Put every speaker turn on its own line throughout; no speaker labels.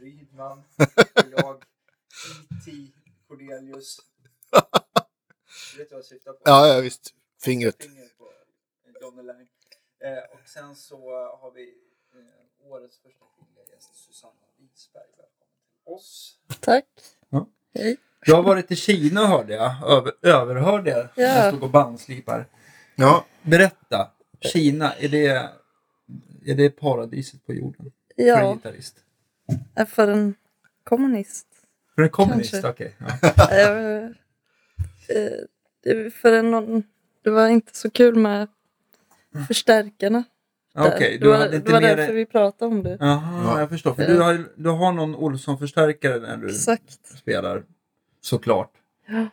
Wickman, och jag, E.T. Cordelius. Vet du vad jag syftar på?
Ja, ja visst. Fingret.
Fingret på John Lang. Eh, och sen så har vi eh, årets första kvinnliga gäst, Susanna Wisberg. Välkommen till oss.
Tack.
Ja.
Hej.
Jag har varit i Kina hörde jag, Över, överhörde jag när jag
Ja.
stod och bandslipar.
Ja,
Berätta, Kina, är det, är det paradiset på jorden? För en
Ja,
gitarrist?
för en kommunist.
För en kommunist,
Kanske.
okej. Ja.
Eh, eh, det- för en, någon- det var inte så kul med förstärkarna. där.
Mm. Okej,
det
du
var,
hade
det
inte Mm.
var
med
därför
dig...
vi pratade om det.
Jaha,
Ja.
jag förstår. För
Eh.
du har, du har någon Olsson-förstärkare när du
Exakt.
spelar, såklart.
Ja.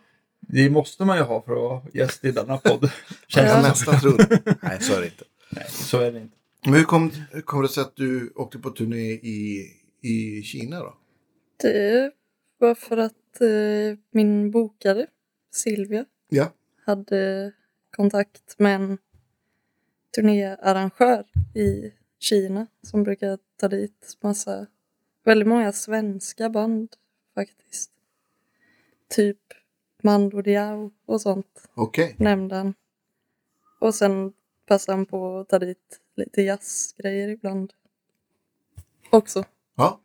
Det måste man ju ha för att vara gäst i denna podd.
jag
Känns
Ja.
det som.
nästan trodde. Nej, så är det inte.
Nej, så är det inte.
Men hur kom, hur kom det sig att du åkte på turné i, i Kina då?
Det var för att eh, min bokare, Silvia,
Ja.
hade kontakt med en turnéarrangör i Kina som brukar ta dit massa, väldigt många svenska band faktiskt. Typ Mando Diao och sånt
Okej.
nämnde han. Och sen passade han på att ta dit lite jazzgrejer ibland också.
Ja.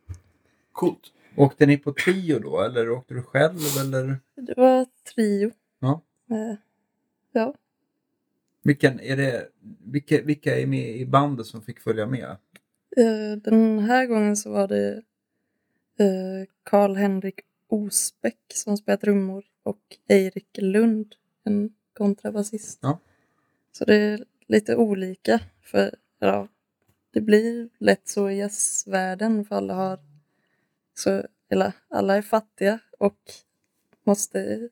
Coolt.
Åkte ni på trio då, eller åkte du själv? Eller
Det var trio. Eh,
Ja.
Med, ja.
vilken är det, vilka, vilka är med i bandet som fick följa med?
Eh, Den här gången så var det eh, Karl-Henrik Osbeck som spelar trummor och Eirik Lund, en kontrabasist.
Ja.
Så det är lite olika. för ja, Det blir lätt så i jazzvärlden för alla har så, eller alla är fattiga och måste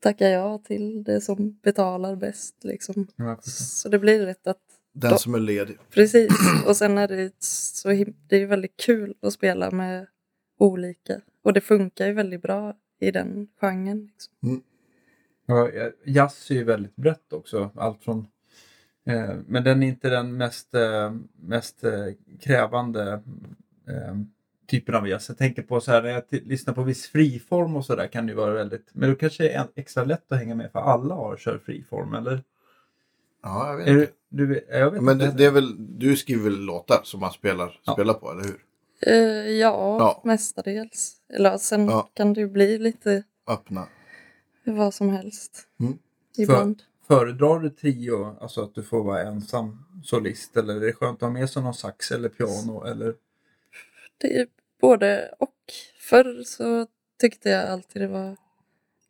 tacka ja till det som betalar bäst. Liksom. Så det blir lätt att
Den
Ja.
som är ledig.
Precis, och sen är det så him- det är väldigt kul att spela med olika. Och det funkar ju väldigt bra i den genren. Liksom.
Ja, ja, jazz är ju väldigt brett också. Allt från, eh, men den är inte den mest, eh, mest eh, krävande eh, typen av jazz. Jag tänker på så här, när jag t- lyssnar på viss friform och sådär kan det ju vara väldigt... Men då kanske det är en- extra lätt att hänga med för alla har kör friform, eller?
Ja, jag vet
Är
inte.
du, du, jag vet
Men
inte.
det, det är väl, du skriver väl låtar som man spelar,
Ja.
spelar på, eller hur?
Eh, ja,
Ja.
mestadels. Eller ja, sen
Ja.
kan det ju bli lite
Öppna.
vad som helst.
Mm.
Ibland.
Föredrar du trio, alltså att du får vara ensam solist, eller är det skönt att ha med sig någon sax eller piano? Eller,
Det är både och. Förr så tyckte jag alltid det var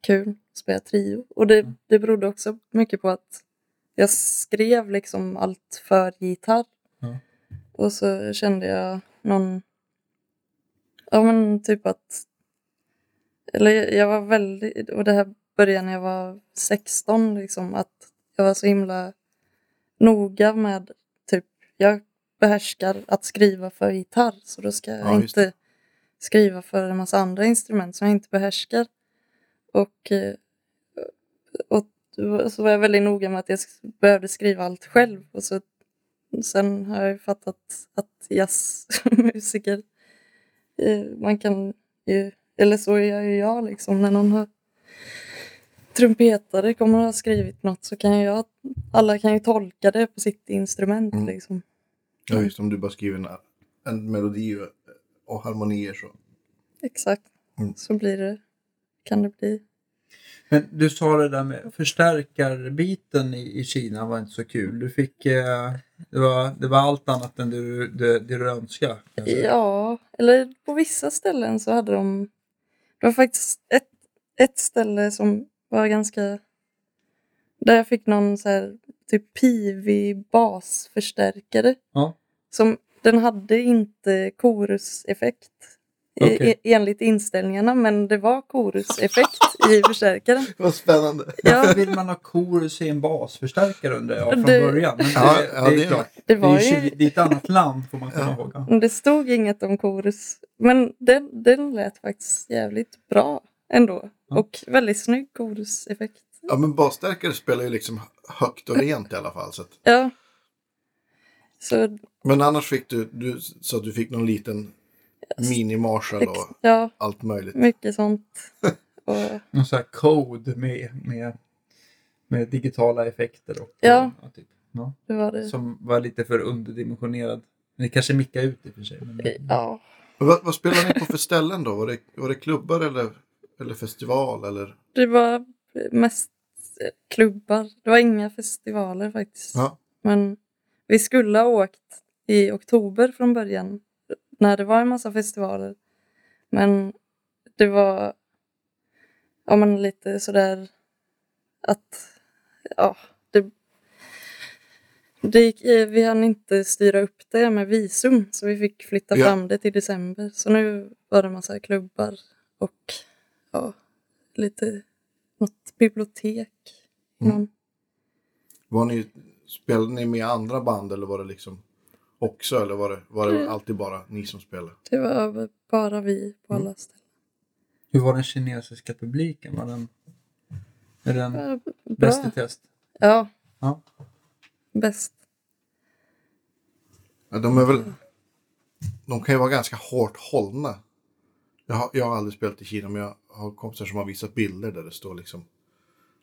kul att spela trio. Och det,
Mm.
det berodde också mycket på att jag skrev liksom allt för gitarr.
Ja.
Och så kände jag någon... Ja men typ att... Eller jag- jag var väldigt... Och det här började när jag var 16 liksom. Att jag var så himla noga med typ... Jag behärskar att skriva för gitarr. Så då ska jag
Ja, just det.
inte skriva för en massa andra instrument som jag inte behärskar. Och, eh, och så var jag väldigt noga med att jag sk- behövde skriva allt själv. Och så, sen har jag ju fattat att jazzmusiker, eh, man kan ju, eller så gör ju jag liksom, när någon har trumpetare kommer att ha skrivit något så kan jag, alla kan ju tolka det på sitt instrument
Mm.
liksom.
Ja, just det, om du bara skriver en, en melodi och, och harmonier så.
Exakt.
Mm.
Så blir det, kan det bli.
men du sa det där med förstärkarbiten i, i Kina var inte så kul. Du fick, eh, det, var, det var allt annat än du, det, det du önskade. kanske.
Ja, eller på vissa ställen så hade de... Det var faktiskt ett, ett ställe som var ganska... Där jag fick någon så här, typ pivig basförstärkare.
Ja.
Som, den hade inte koruseffekt i-
Okej.
i, enligt inställningarna, men det var koruseffekt i förstärkaren.
Vad spännande.
Ja,
Varför vill man ha chorus i en basförstärkare undrar jag från
Det-
början? Men det,
Ja, ja,
det,
det
är
är-
klart,
det
det är,
var
ju...
ju
Ki- det är ett annat land får man komma
Ja.
ihåg. ja.
Men Det stod inget om korus, men den, den lät faktiskt jävligt bra ändå.
Ja.
Och väldigt snygg koruseffekt.
Ja, men basstärkare spelar ju liksom högt och rent i alla fall. Så att,
Ja. Så
men annars fick du, du, så att du fick någon liten Mini-Marshall och
Ex- ja,
allt möjligt.
mycket sånt. Och,
Någon sån här code med, med, med digitala effekter. Och,
Ja.
och typ. ja.
det var det.
Som var lite för underdimensionerad. Men det kanske mickar ut i och för sig. Men,
Ja,
Men Vad, vad spelade ni på för ställen då? Var det, var det klubbar eller, eller festival? Eller?
det var mest klubbar. Det var inga festivaler faktiskt.
Ja.
Men vi skulle ha åkt i oktober från början när det var en massa festivaler. Men det var ja, men lite sådär att ja, det, det gick, eh, vi hann inte styra upp det med visum så vi fick flytta
Ja.
fram det till december. Så nu var det en massa klubbar och ja, lite något bibliotek.
Mm.
Någon,
Var ni, spelade ni med andra band eller var det liksom också? Eller var det, var det alltid bara ni som spelade?
det var bara vi på
Mm.
alla ställen.
Hur var den kinesiska publiken? Var den, är den
Ja, Bra.
bäst i test?
Ja.
Ja.
Bäst.
Ja, de är väl... De kan ju vara ganska hårt hållna. Jag har, jag har aldrig spelat i Kina men jag har kompisar som har visat bilder där det står liksom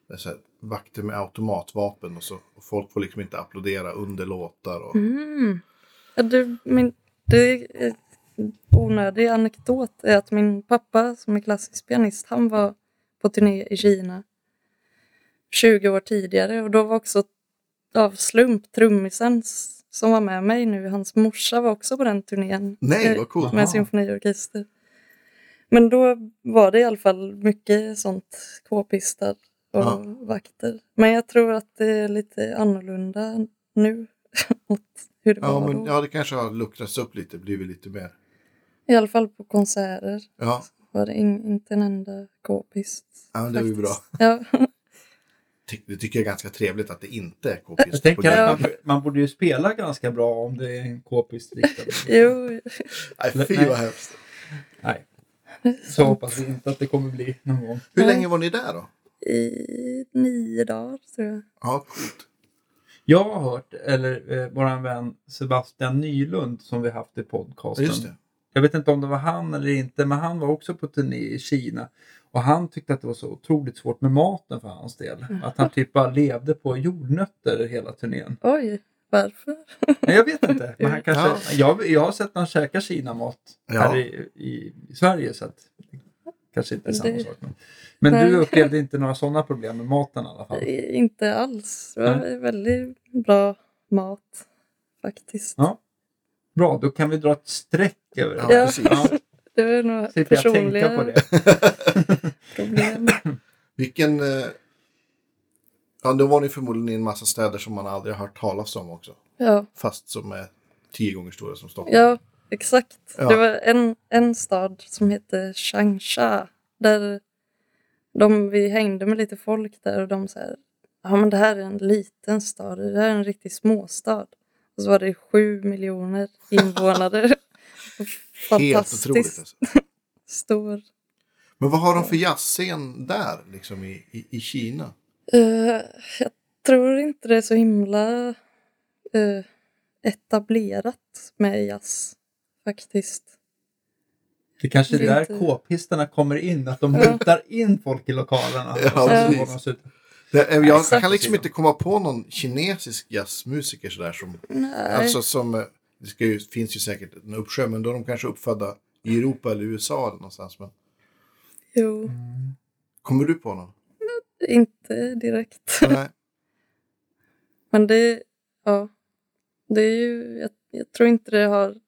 det är så här, vakter med automatvapen och så och folk får liksom inte applådera under låtar. Och,
Mm. Ja, du, min, det är en onödig anekdot är att min pappa som är klassisk pianist, han var på turné i Kina 20 år tidigare och då var också av slump trummisen s- som var med mig nu, hans morsa var också på den turnén.
Nej,
Eh,
vad coolt!
Aha.
med symfoniorkester. Men då var det i alla fall mycket sånt k-pistar och
Ja.
vakter. Men jag tror att det är lite annorlunda nu mot hur det
Ja,
var
men,
då.
ja, det kanske har luckrats upp lite, blivit lite mer.
I alla fall på konserter
Ja,
var det in, inte en enda k-pist.
Ja, men det är ju
faktiskt. Ja,
ty- det tycker jag är ganska trevligt att det inte är
Jag
k-pist. på
tänker
grejen.
att man, man borde ju spela ganska bra om det är en k-pist riktad.
jo,
Nej, fy
Nej.
vad hemskt.
Nej. Så hoppas vi inte att det kommer bli någon gång.
Hur
Nej.
länge var ni där då?
i nio dagar tror jag.
Ja, coolt.
Jag har hört, eller eh, våran vän Sebastian Nylund som vi haft i podcasten.
Just det.
Jag vet inte om det var han eller inte, men han var också på turné i Kina. Och han tyckte att det var så otroligt svårt med maten för hans del. Att han typ bara levde på jordnötter hela turnén.
Oj, varför?
Men jag vet inte. Men han kanske, jag, jag har sett han käka Kinamat
Ja.
här i, i, i Sverige. Så att, kanske inte är samma
Det-
sak. Men, men
Nej.
du upplevde inte några sådana problem med maten i alla fall?
I- Inte alls. Det var väldigt bra mat faktiskt.
Ja. Bra, då kan vi dra ett streck över det.
Ja,
Ja.
precis.
Det var nog
Slipper jag tänka på
personliga
det.
problem.
Vilken... eh, Ja, då var ni förmodligen i en massa städer som man aldrig har hört talas om också.
Ja,
Fast som är tio gånger stora som Stockholm.
ja exakt.
Ja.
Det var en, en stad som hette Changsha. Där de, vi hängde med lite folk där och de sa ja men det här är en liten stad, det här är en riktig småstad. Och så var det sju miljoner invånare.
Helt otroligt.
Fantastiskt
Alltså.
stor
Men vad har de för jazzscen där, liksom i, i, i Kina?
Eh, jag tror inte det är så himla eh, etablerat med jazz faktiskt.
Det kanske är
Det är
där
inte-
k-pisterna kommer in, att de
Ja.
mutar in folk i lokalerna.
Ja,
Och så
precis.
går de så ut.
Det, eh, jag
Exakt.
kan liksom inte komma på någon kinesisk jazzmusiker sådär som...
Nej.
Alltså som... eh, Det ska ju, finns ju säkert en uppsjö, men då är de kanske uppfödda i Europa eller USA eller någonstans. Men
Jo,
kommer du på någon?
inte direkt.
Nej.
Men det, ja, det är ju, jag, jag tror inte det har,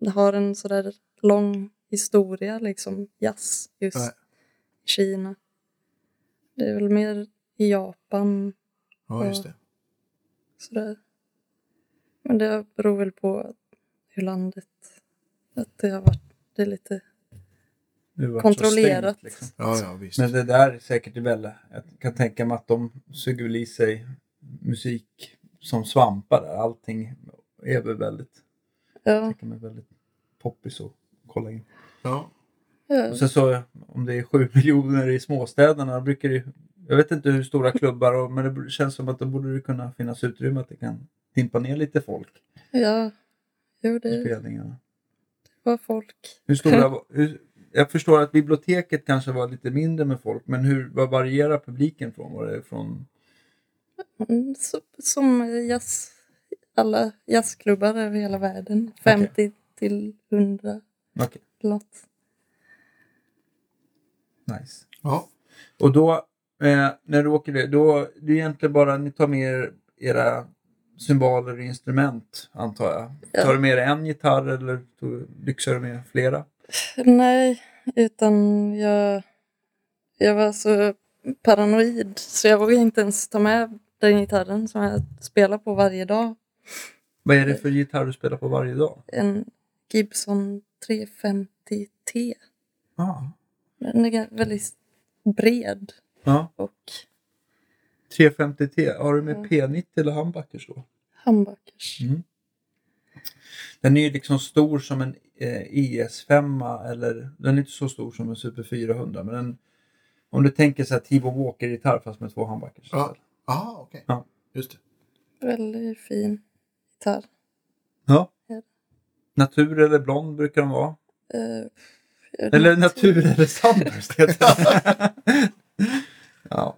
det har en sådär lång historia liksom, jazz just
Nej.
i Kina. Det är väl mer i Japan
Ja, just det.
Sådär. Men det beror väl på hur landet... Att det har varit det är lite...
Nu vart det
Kontrollerat.
så liksom.
Ja, ja, visst.
Men det där är säkert väl, jag kan tänka mig att de suger väl i sig musik som svampar där. Allting är väl väldigt, jag
Ja,
tänker mig väldigt poppis och kolla in.
Ja.
ja,
Och sen så om det är sju miljoner i småstäderna, då brukar det ju- jag vet inte hur stora klubbar, och- men det känns som att då borde det kunna finnas utrymme att det kan dimpa ner lite folk
ja. Jo,
på
det
spelningarna.
var folk.
Hur stora, var- hur, jag förstår att biblioteket kanske var lite mindre med folk, men hur, vad varierar publiken från? Var det från
Mm, Så, som jazz, alla jazzklubbar över hela världen. 50 till 100
Okej.
något.
nice.
Ja,
Och då, eh, när du åker det, då, det är egentligen bara ni tar med er era symboler och instrument, antar jag.
Ja.
Tar du med er en gitarr eller tog- lyxar du med flera?
Nej, utan jag, jag var så paranoid så jag vågade inte ens ta med den gitarren som jag spelar på varje dag.
Vad är det för gitarr du spelar på varje dag?
En Gibson 350T.
Ah.
Den är ga- väldigt bred
Ja.
och
350T, har du med
Ja.
P90 eller humbuckers då?
handbakers.
Mm. Den är ju liksom stor som en eh, ES5 eller den är inte så stor som en Super 400 men den, om du tänker så här Tivo Walker-gitarr fast med två humbuckers.
Ja. ah, okej.
Ja.
Just det.
Väldigt fin gitarr.
ja.
Ja.
Natur eller blond brukar de vara.
Eh,
Eller natur eller Sunburst heter det. ja,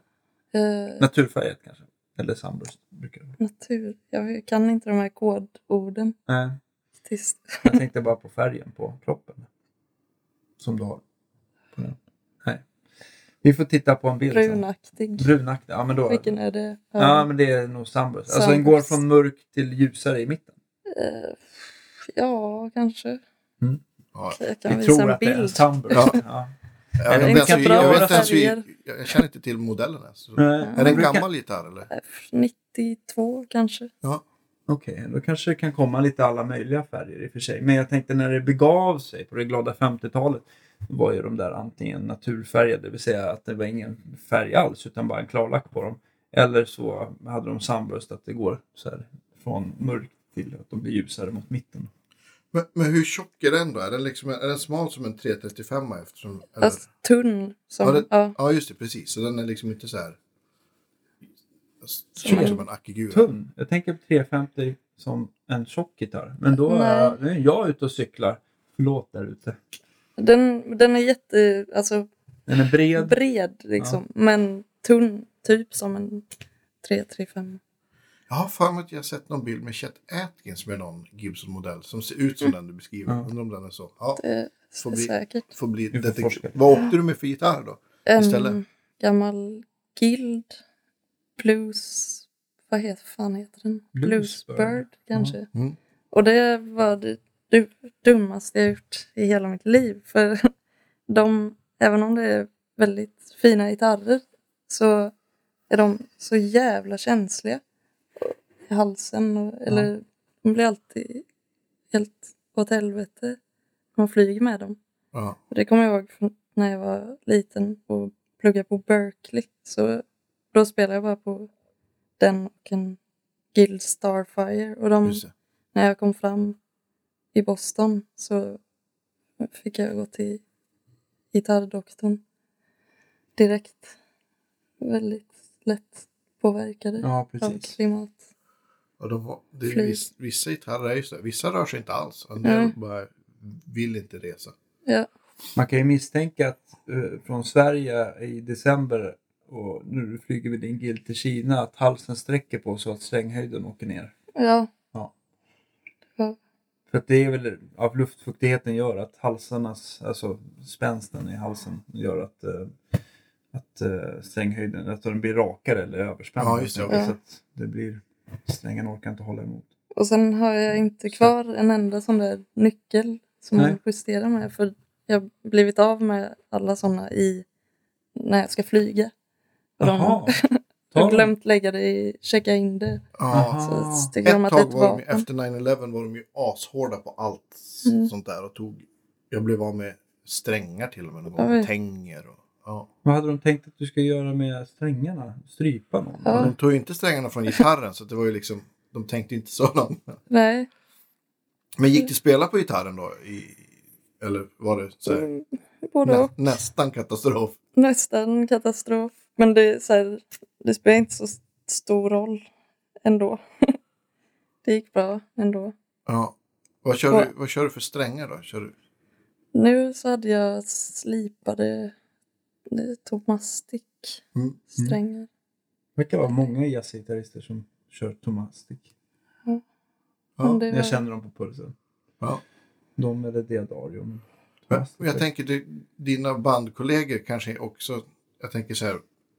eh,
naturfärgat kanske. Eller Sunburst brukar det vara.
natur. Jag kan inte de här kodorden.
Nej,
Tyst.
jag tänkte bara på färgen på kroppen. Som du har. På den. Nej. Vi får titta på en bild sen.
Brunaktig.
Brunaktig, ja men då.
Vilken är det? Eh,
Ja men det är nog Sunburst. Alltså den
Sunburst.
går från mörk till ljusare i mitten.
Eh, ja, kanske.
Ja.
Jag kan
Vi
visa
tror
en
att det är en
bild.
Sunburst.
Ja.
Ja. den
Jag, vet inte ens,
kan
hur- jag,
dra
vet inte ens, hur-
färger.
jag, jag känner inte till modellen ens. Så.
Eh,
Är det en
brukar-
gammal gitarr eller?
F- 92 kanske.
Okej, då kanske det kan komma lite alla möjliga färger i och för sig. Men jag tänkte när det begav sig på det glada 50-talet var ju de där antingen naturfärgade, det vill säga att det var ingen färg alls utan bara en klarlack på dem. Eller så hade de Sunburst att det går så här från mörkt till att de blir ljusare mot mitten.
Men, men hur tjock är den då? Är den, liksom, är den smal som en 335 eftersom, eller?
Fast tunn. Som,
Ja, det-
ja,
Ja, just det. Precis. Så den är liksom inte så här...
en-
Tjock som en akigura.
Tunn! Jag tänker på 350 som en tjock gitarr. Men då är
Nej.
jag, nu är jag ute och cyklar. Förlåt där ute.
den, den är jätte... Alltså
Den är bred.
bred liksom. Men tunn. Typ som en 335.
Jag har för mig att jag har sett någon bild med Chet Atkins med någon Gibson-modell som ser ut som den du beskriver.
Ja.
Undrar om den är så. Ja,
Det är
Får bli-
säkert.
får bli
Vi får forska.
detektiv. Vad åkte du med för gitarr då?
En
istället.
gammal guild. Blues... Vad heter, fan heter den?
Bluesbird.
Bluesbird kanske.
Mm.
Och det var det du- dummaste jag gjort i hela mitt liv. För de, även om det är väldigt fina gitarrer så är de så jävla känsliga i halsen. Och, eller de blir alltid helt åt helvete när man flyger med dem.
Ja.
Och Det kommer jag ihåg från när jag var liten och pluggade på Berkeley. Så då spelade jag bara på den och en Guild Starfire. Och de,
Just det.
när jag kom fram i Boston så fick jag gå till gitarrdoktorn direkt. Väldigt lätt påverkade
Ja,
av
precis.
klimat.
Och de, har- det är
Flyg.
viss, vissa gitarrer är ju så. här. Vissa rör sig inte alls. En del
Nej.
bara vill inte resa.
Ja,
Man kan ju misstänka att eh, från Sverige i december och nu flyger vi din gill till Kina att halsen sträcker på så att stränghöjden åker ner.
ja,
För att det är väl av luftfuktigheten gör att halsarnas, alltså spänsten i halsen gör att, eh, att eh, stränghöjden, att den blir rakare eller överspänd.
Ja, just det.
Så
Ja.
att det blir, strängen orkar inte hålla emot.
Och sen har jag inte kvar en enda sån där nyckel som
Nej.
man justerar med. För jag har blivit av med alla såna i, när jag ska flyga. Och de
Jaha!
jag har
dem.
glömt lägga det i, checka in det.
Ja.
Aha. Ah.
Så tycker de
Ett
att det är
tag
ett
var de, ju-
vapen.
efter 9-11 var de ju ashårda på allt s-
Mm.
sånt där. Och tog, jag blev av med strängar till och med någon gång.
Oj.
Och tänger och... Ja.
Vad hade de tänkt att du ska göra med strängarna? Strypa någon?
Ja.
eller?
De tog ju inte strängarna från gitarren så det var ju liksom... De tänkte inte så långt.
Nej.
Men gick det att spela på gitarren då? I, eller var det så här,
Mm, Både
nä,
och.
nästan katastrof?
Nästan katastrof. Men det, är så här, det spelar inte så s- stor roll ändå. det gick bra ändå.
Ja. Vad kör, du, vad kör du för strängar då? Kör du?
Nu så hade jag slipade eh, tomastic
Mm, mm.
strängar.
Det verkar vara många jazzgitarrister som kör tomastik.
Ja.
det var-
Jag känner dem på pulsen.
Ja.
De eller Diadario. men
Men
Tomastic
jag
är-
tänker, du, dina bandkollegor kanske också, jag tänker så här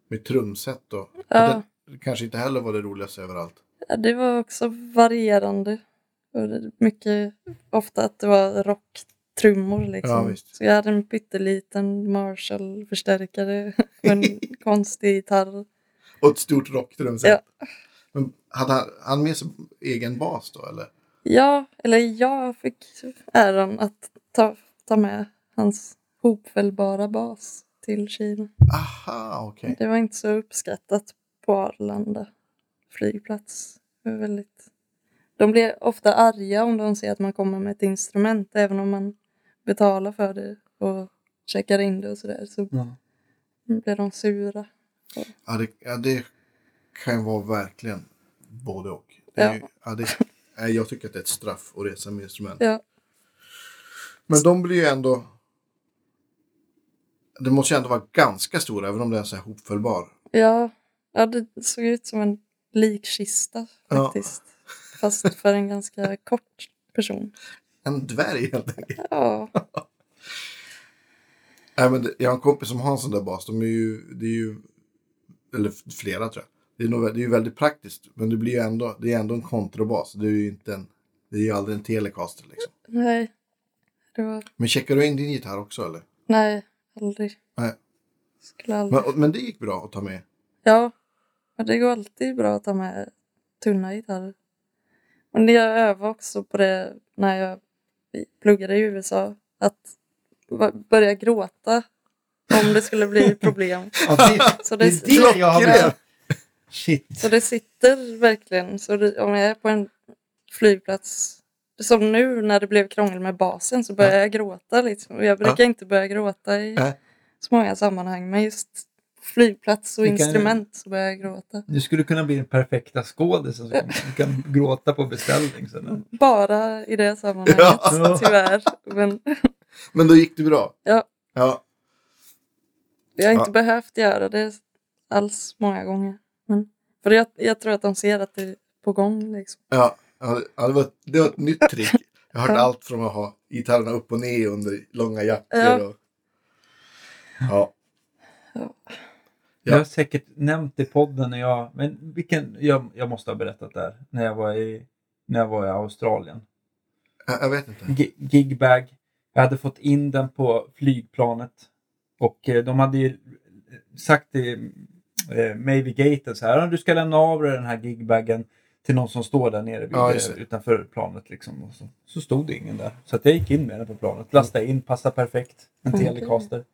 med trumset då.
Ja,
Det kanske inte heller var det roligaste överallt.
ja, det var också varierande. Och det- Mycket, ofta att det var rocktrummor liksom.
Ja, visst.
Så jag hade en pytteliten Marshall-förstärkare och en konstig gitarr.
Och ett stort rocktrumset.
Ja.
Men hade han, han med sig egen bas då eller?
Ja, eller jag fick äran att ta, ta med hans hopfällbara bas till Kina.
Aha, okej.
Det var inte så uppskattat på Arlanda flygplats. Det var väldigt... De blir ofta arga om de ser att man kommer med ett instrument, även om man betalar för det och checkar in det och sådär. Så
Ja.
blir de sura.
Ja, det, ja, det kan ju vara verkligen både och. Det är, ju- ja, det, nej, jag tycker att det är ett straff att resa med instrument.
Ja,
Men de blir ju ändå... Det måste ju ändå vara ganska stora, även om det är så här hopfällbar.
ja, ja det såg ut som en likkista
Ja.
faktiskt. Fast för en ganska kort person.
En dvärg helt enkelt.
Ja,
Nej, men det, jag har en kompis som har en sån där bas. De är ju, det är ju, eller f- flera tror jag. Det är, nog, vä- det är ju väldigt praktiskt, men det blir ju ändå, det är ändå en kontrabas. Det är ju inte en, det är ju aldrig en telecaster liksom.
nej. Det var...
Men checkar du in din gitarr också eller?
Nej, aldrig.
Nej.
Skulle aldrig.
Men, men det gick bra att ta med.
Ja, men det går alltid bra att ta med tunna gitarrer. Men det jag övade också på det när jag pluggade i USA, att va- börja gråta om det skulle bli problem.
Ja, det,
Så
det
det,
är det jag har med. Shit.
så det sitter verkligen. Så det, om jag är på en flygplats, som nu när det blev krångel med basen, så börjar jag gråta. Liksom. Och jag brukar inte börja gråta i
Nej.
så många sammanhang, men just flygplats och
Det kan ju-
instrument så börjar jag gråta.
Du skulle kunna bli den perfekta skådisen som kan gråta på beställning. Sen.
Bara i det sammanhanget,
Ja.
tyvärr. Men
Men då gick det bra.
Ja.
Ja,
jag har inte
Ja.
behövt göra det alls många gånger. Men, för jag, jag tror att de ser att det är på gång. Liksom.
ja, ja, det- ja det, var, det var ett nytt trick. Jag har hört
Ja.
allt från att ha gitarrerna upp och ner under långa jackor.
Ja.
Och, ja. Ja.
Jag har säkert nämnt i podden när jag, men vilken, jag, jag måste ha berättat där, när jag var i, när jag var i Australien.
Jag, jag vet inte.
Gi- Gigbag, jag hade fått in den på flygplanet och eh, de hade ju sagt till eh, mig vid gaten så här, "Ah, du ska lämna av dig den här gigbagen till någon som står där nere vid, eh,
Ja, just det.
utanför planet. Liksom. Och så, så stod det ingen där. Så att jag gick in med den på planet, lastade in, passade perfekt, en
Mm.
telecaster.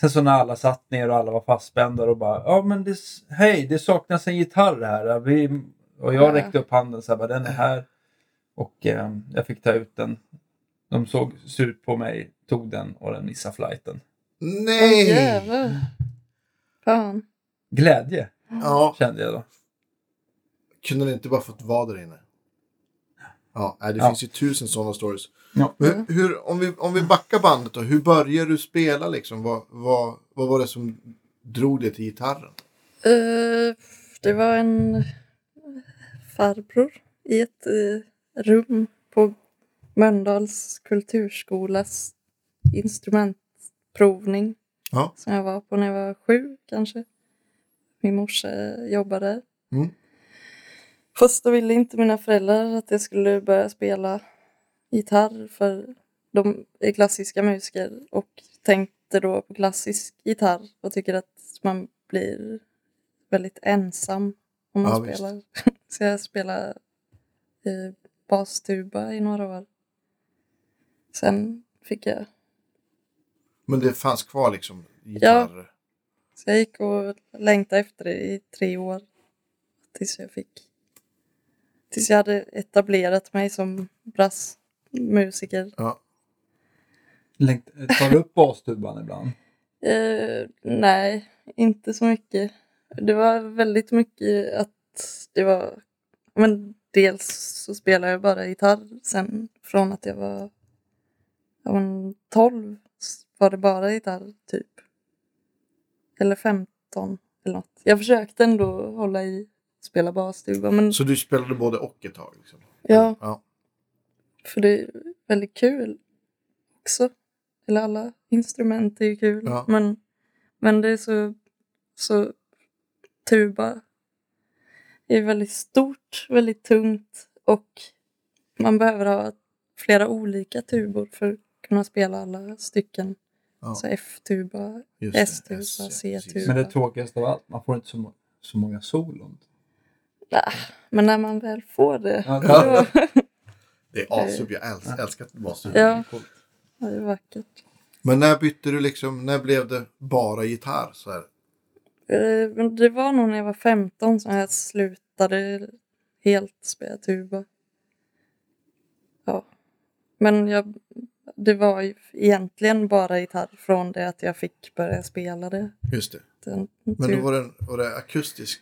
Sen så när alla satt ner och alla var fastspända och bara ja men det, s- hej det saknas en gitarr här. Vi, och jag
Ja.
räckte upp handen så här, bara, den är här. Och eh, jag fick ta ut den. De såg surt på mig, tog den och den missade flighten.
Åh,
Nej!
jävlar. Fan.
Glädje
Ja,
kände jag då.
kunde det inte bara fått vara där inne? Ja, nej, det
Ja.
finns ju tusen sådana stories.
Ja.
Men Hur, hur, om, vi, om vi backar bandet då, hur började du spela liksom? Vad, vad, vad var det som drog dig till gitarren?
Eh, det var en farbror i ett eh, rum på Mölndals kulturskolas instrumentprovning.
Ja.
Som jag var på när jag var sju kanske. Min morsa jobbade där.
Mm.
Fast då ville inte mina föräldrar att jag skulle börja spela gitarr för de är klassiska musiker och tänkte då på klassisk gitarr och tycker att man blir väldigt ensam om man
Ja, visst.
spelar. Så jag spelade eh, bastuba i några år. Sen fick jag
Men det fanns kvar liksom gitarr.
Så jag gick och längtade efter det i tre år. Tills jag fick... Tills jag hade etablerat mig som brassmusiker.
Ja.
Längt, tar du upp bastuban ibland?
Eh, nej, inte så mycket. Det var väldigt mycket att det var... Men dels så spelar jag bara gitarr sen från att jag var, jag var 12 var det bara gitarr typ. Eller 15 eller något. Jag försökte ändå hålla i spela basduva men
Så du spelade både och ett tag? Liksom.
ja,
Ja.
för det är väldigt kul också. Eller alla instrument är ju kul
Ja.
men, men det är så, så tuba är väldigt stort, väldigt tungt och man behöver ha flera olika tubor för att kunna spela alla stycken.
Ja.
Så F-tuba,
Just det,
S-tuba,
S, ja,
C-tuba.
precis.
Men det tråkigaste av allt, man får inte så, må- så många solon.
Ah, men när man väl får det.
Ja, det-
Ja.
då-
Det är asupp, jag äls- älskar att vara så.
Ja. Ja, det är vackert.
Men när bytte du liksom, när blev det bara gitarr? Så här?
Eh, Men det var nog när jag var 15 som jag slutade helt spela tuba. Ja. Men jag, det var ju egentligen bara gitarr från det att jag fick börja spela det.
Just det.
Den,
Men då
tuba.
var det, var det akustisk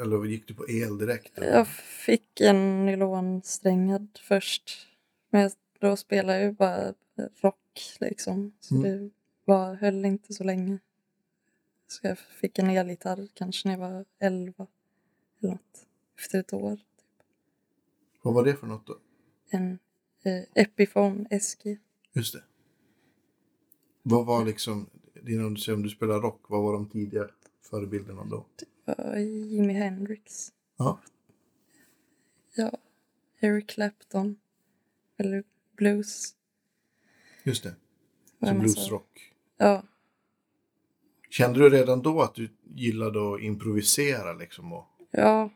eller gick du på el direkt? eller?
Jag fick en nylonsträngad först. Men jag- då spelade jag ju bara rock liksom. Så
Mm.
det var, höll inte så länge. Så jag fick en elgitarr kanske när jag var 11 eller något. Efter ett år.
Vad var det för något då?
En eh, Epiphone SG.
Just det. Vad var liksom, innan du säger om du spelar rock, vad var de tidiga förebilderna då?
Var Jimi Hendrix.
Ja.
Ja. Eric Clapton. Eller blues.
Just det.
vad
Som
man sa.
bluesrock.
Ja.
Kände du redan då att du gillade att improvisera liksom och,
Ja.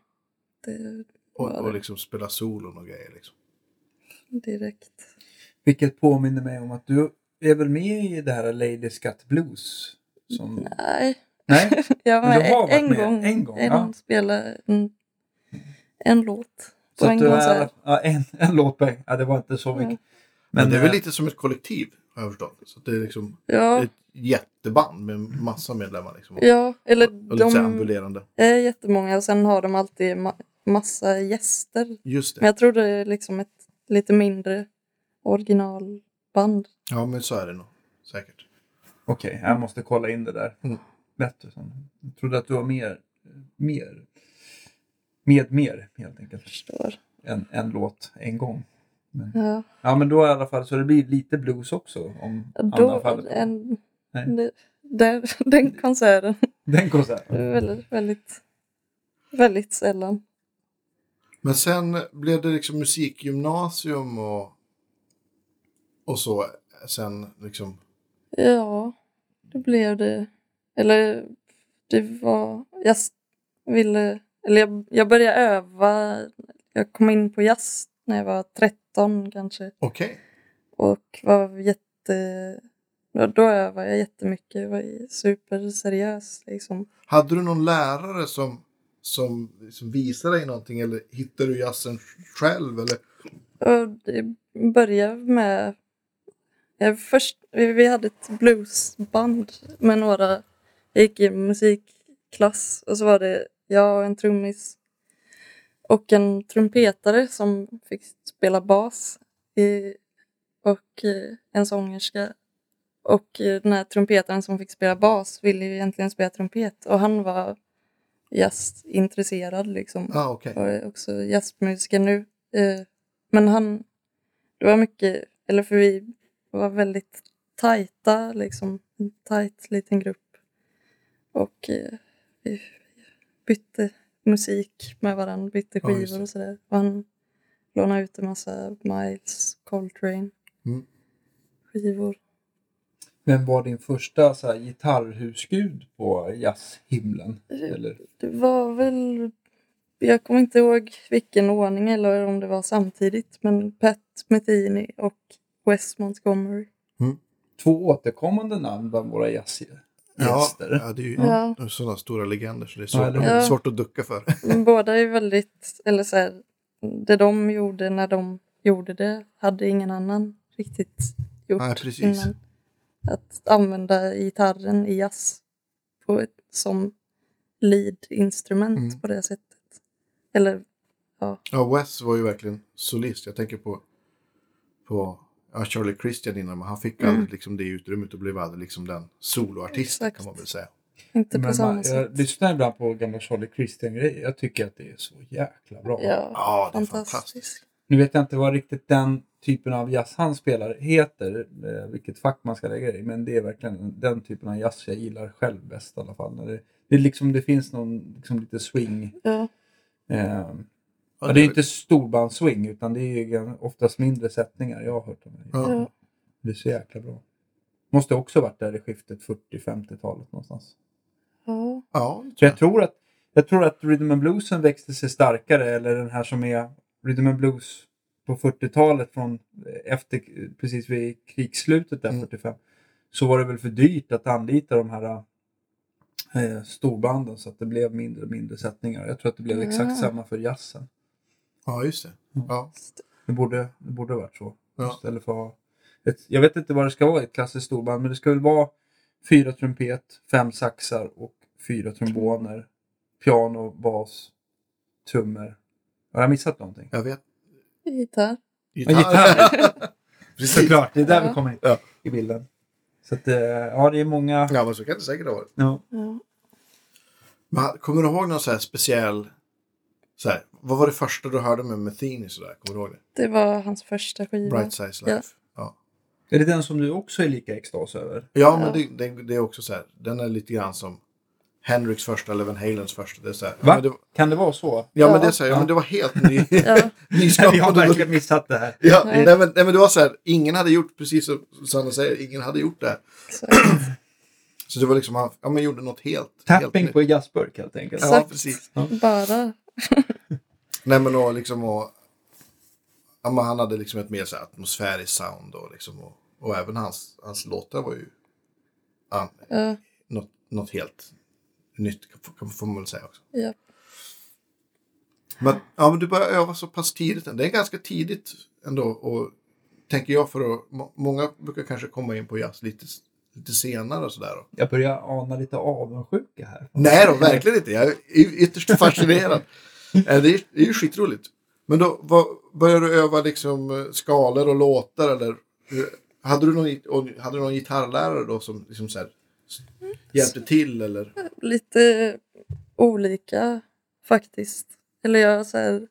Det
och,
Ja, det-
och liksom spela solon och grejer? Liksom?
direkt.
Vilket påminner mig om att du är väl med i det här Lady Scat Blues? Som...
Nej.
Nej?
Jag var
Men du har
med en,
varit med
gång,
en gång,
En
ja.
spelade en, en låt
Så
på en
att du är,
konsert.
ja, en, en låt per, ja, det var inte så mycket.
Mm.
Men, det är väl
eh,
lite som ett kollektiv har jag förstått. Så att det är liksom
Ja,
ett jätteband med massa medlemmar. Liksom.
ja, eller
Och lite så här
de
ambulerande.
är jättemånga och sen har de alltid ma- massa gäster.
Just
Men
det.
jag tror det är liksom ett lite mindre originalband.
Ja, men så är det nog. Säkert.
Okej, jag måste kolla in det där.
Mm.
Bättre sen. Jag trodde att du var mer, mer, med mer helt enkelt.
Förstår.
En, en låt en gång. Men,
Ja,
ja men då i alla fall så det blir lite blues också. Om andra
då,
fallet.
en,
Nej.
det, den, den konserten
Den konserten.
är väldigt, väldigt, väldigt sällan.
Men sen blev det liksom musikgymnasium och, och så. Sen liksom.
Ja, det blev det. Eller det var... Jag s- ville... Eller jag, jag började öva. Jag kom in på jazz när jag var 13 kanske.
Okej.
Och var jätte... Då, då övade jag jättemycket. Jag var superseriös liksom.
Hade du någon lärare som, som, som visade dig någonting eller hittade du jazzen själv? Eller?
Och det började med... Jag först, vi vi hade ett bluesband med några... Jag gick i musikklass och så var det jag och en trummis och en trumpetare som fick spela bas i, och eh, en sångerska. Och eh, den här trumpetaren som fick spela bas ville ju egentligen spela trumpet och han var jazzintresserad liksom
Ah, okej.
var också jazzmusiker nu. Eh, Men han, det var mycket, eller för vi var väldigt tajta liksom, en tajt liten grupp. Och eh, vi bytte musik med varandra, bytte
Ja, just det.
skivor och sådär. Och han lånade ut en massa Miles Coltrane
Mm.
skivor.
Men var din första så här, gitarrhusgud på jazzhimlen? Eller?
Det var väl... Jag kommer inte ihåg vilken ordning eller om det var samtidigt men Pat Metheny och Wes Montgomery.
Två återkommande namn bland våra jazzgäster.
Ja, ja, det är ju
Ja.
sådana stora legender så det är
Ja,
svårt,
eller
hur?
svårt att ducka för.
Men båda är väldigt... Eller så här, det de gjorde när de gjorde det hade ingen annan riktigt gjort
Nej, precis.
innan. Att använda gitarren i jazz på ett, som lead-instrument
Mm.
på det sättet. Eller
Ja, Wes var ju verkligen solist. Jag tänker på, på ja, Charlie Christian innan, men han fick
Mm.
aldrig liksom det utrymmet och blev aldrig liksom den soloartisten
Exakt.
kan man väl säga.
Inte Typ på
Men
samma
eh,
man,
sätt.
jag lyssnar ibland på gamla Charlie Christian-grejer. Jag tycker att det är så jäkla bra.
Ja,
Ja, det är
fantastiskt.
fantastiskt.
Nu vet jag inte vad riktigt den typen av jazz han spelar heter, eh, vilket fack man ska lägga i, men det är verkligen den typen av jazz jag gillar själv bäst i alla fall. När Det, det, är liksom, det finns någon liksom lite swing.
Ja,
Eh,
Ja,
och det är inte storbandsswing utan det är ju gan- oftast mindre sättningar jag har hört om det.
Ja.
ja.
Det är så jäkla bra. Måste också varit där i skiftet 40-50-talet någonstans.
ja.
Ja,
Så jag tror att, jag tror att rhythm and bluesen växte sig starkare, eller den här som är rhythm and blues på 40-talet, från eh, efter, precis vid krigsslutet där
Mm.
45, så var det väl för dyrt att anlita de här eh, storbanden så att det blev mindre och mindre sättningar. Jag tror att det blev
Ah.
Ja.
exakt samma för jazzen.
ja just det. Ja.
Det borde, det borde ha varit så.
Ja.
Istället för att ha ett, jag vet inte vad det ska vara i ett klassiskt storband, men det ska väl vara fyra trumpet, fem saxar och fyra tromboner, piano, bas, trummor. Har jag missat någonting?
Jag vet.
Gitarr.
Ja, gitarr.
Precis.
Såklart, det är där
Ja.
vi kommer in
Ja.
i bilden. Så att, eh, ja, det är många...
Ja, men så kan det säkert ha varit.
Ja.
Ja.
Men ha- kommer du ihåg någon så här speciell... Så här, vad var det första du hörde med Metheny sådär? Kommer du ihåg det?
Det var hans första skiva.
Bright Size Life. Ja,
Är det den som du också är lika extas över?
ja, men det, det, det är också så här. Den är lite grann som Henriks första eller Van Halens första. Det är så här,
Va?
Ja, men det,
Kan det vara så?
ja, men
Ja.
det, är så här, ja, men det var helt ny,
Ja.
Vi har
nyskapande.
verkligen missat det här.
Ja,
Nej.
nej. men, nej men det var så här, ingen hade gjort, precis som Sanna säger, ingen hade gjort det. här.
Exakt.
Så det var liksom, han ja, men gjorde något helt.
Tapping
helt
på en
nytt.
jazzburk helt enkelt.
Ja, precis.
Bara.
Nej men och liksom och, ja, men han hade liksom ett mer så här atmosfäriskt sound och liksom och, och även hans, hans låtar var ju an,
Ja.
något, något helt nytt kan- kan- får man väl säga också.
Ja.
Men, ja, men du började öva så pass tidigt. ändå. Det är ganska tidigt ändå. Och tänker jag för att, må- många brukar kanske komma in på jazz lite, s- lite senare och sådär. då.
Jag börjar ana lite avundsjuka här.
Nej då, verkligen inte. Jag är y- ytterst fascinerad. Eh, det, är, det är ju skitroligt. Men då, vad, började du öva liksom eh, skalor och låtar eller? hur- Hade du någon, git- och hade du någon gitarrlärare då som liksom så här, s-
Mm.
hjälpte till eller?
Lite olika faktiskt. Eller jag så här,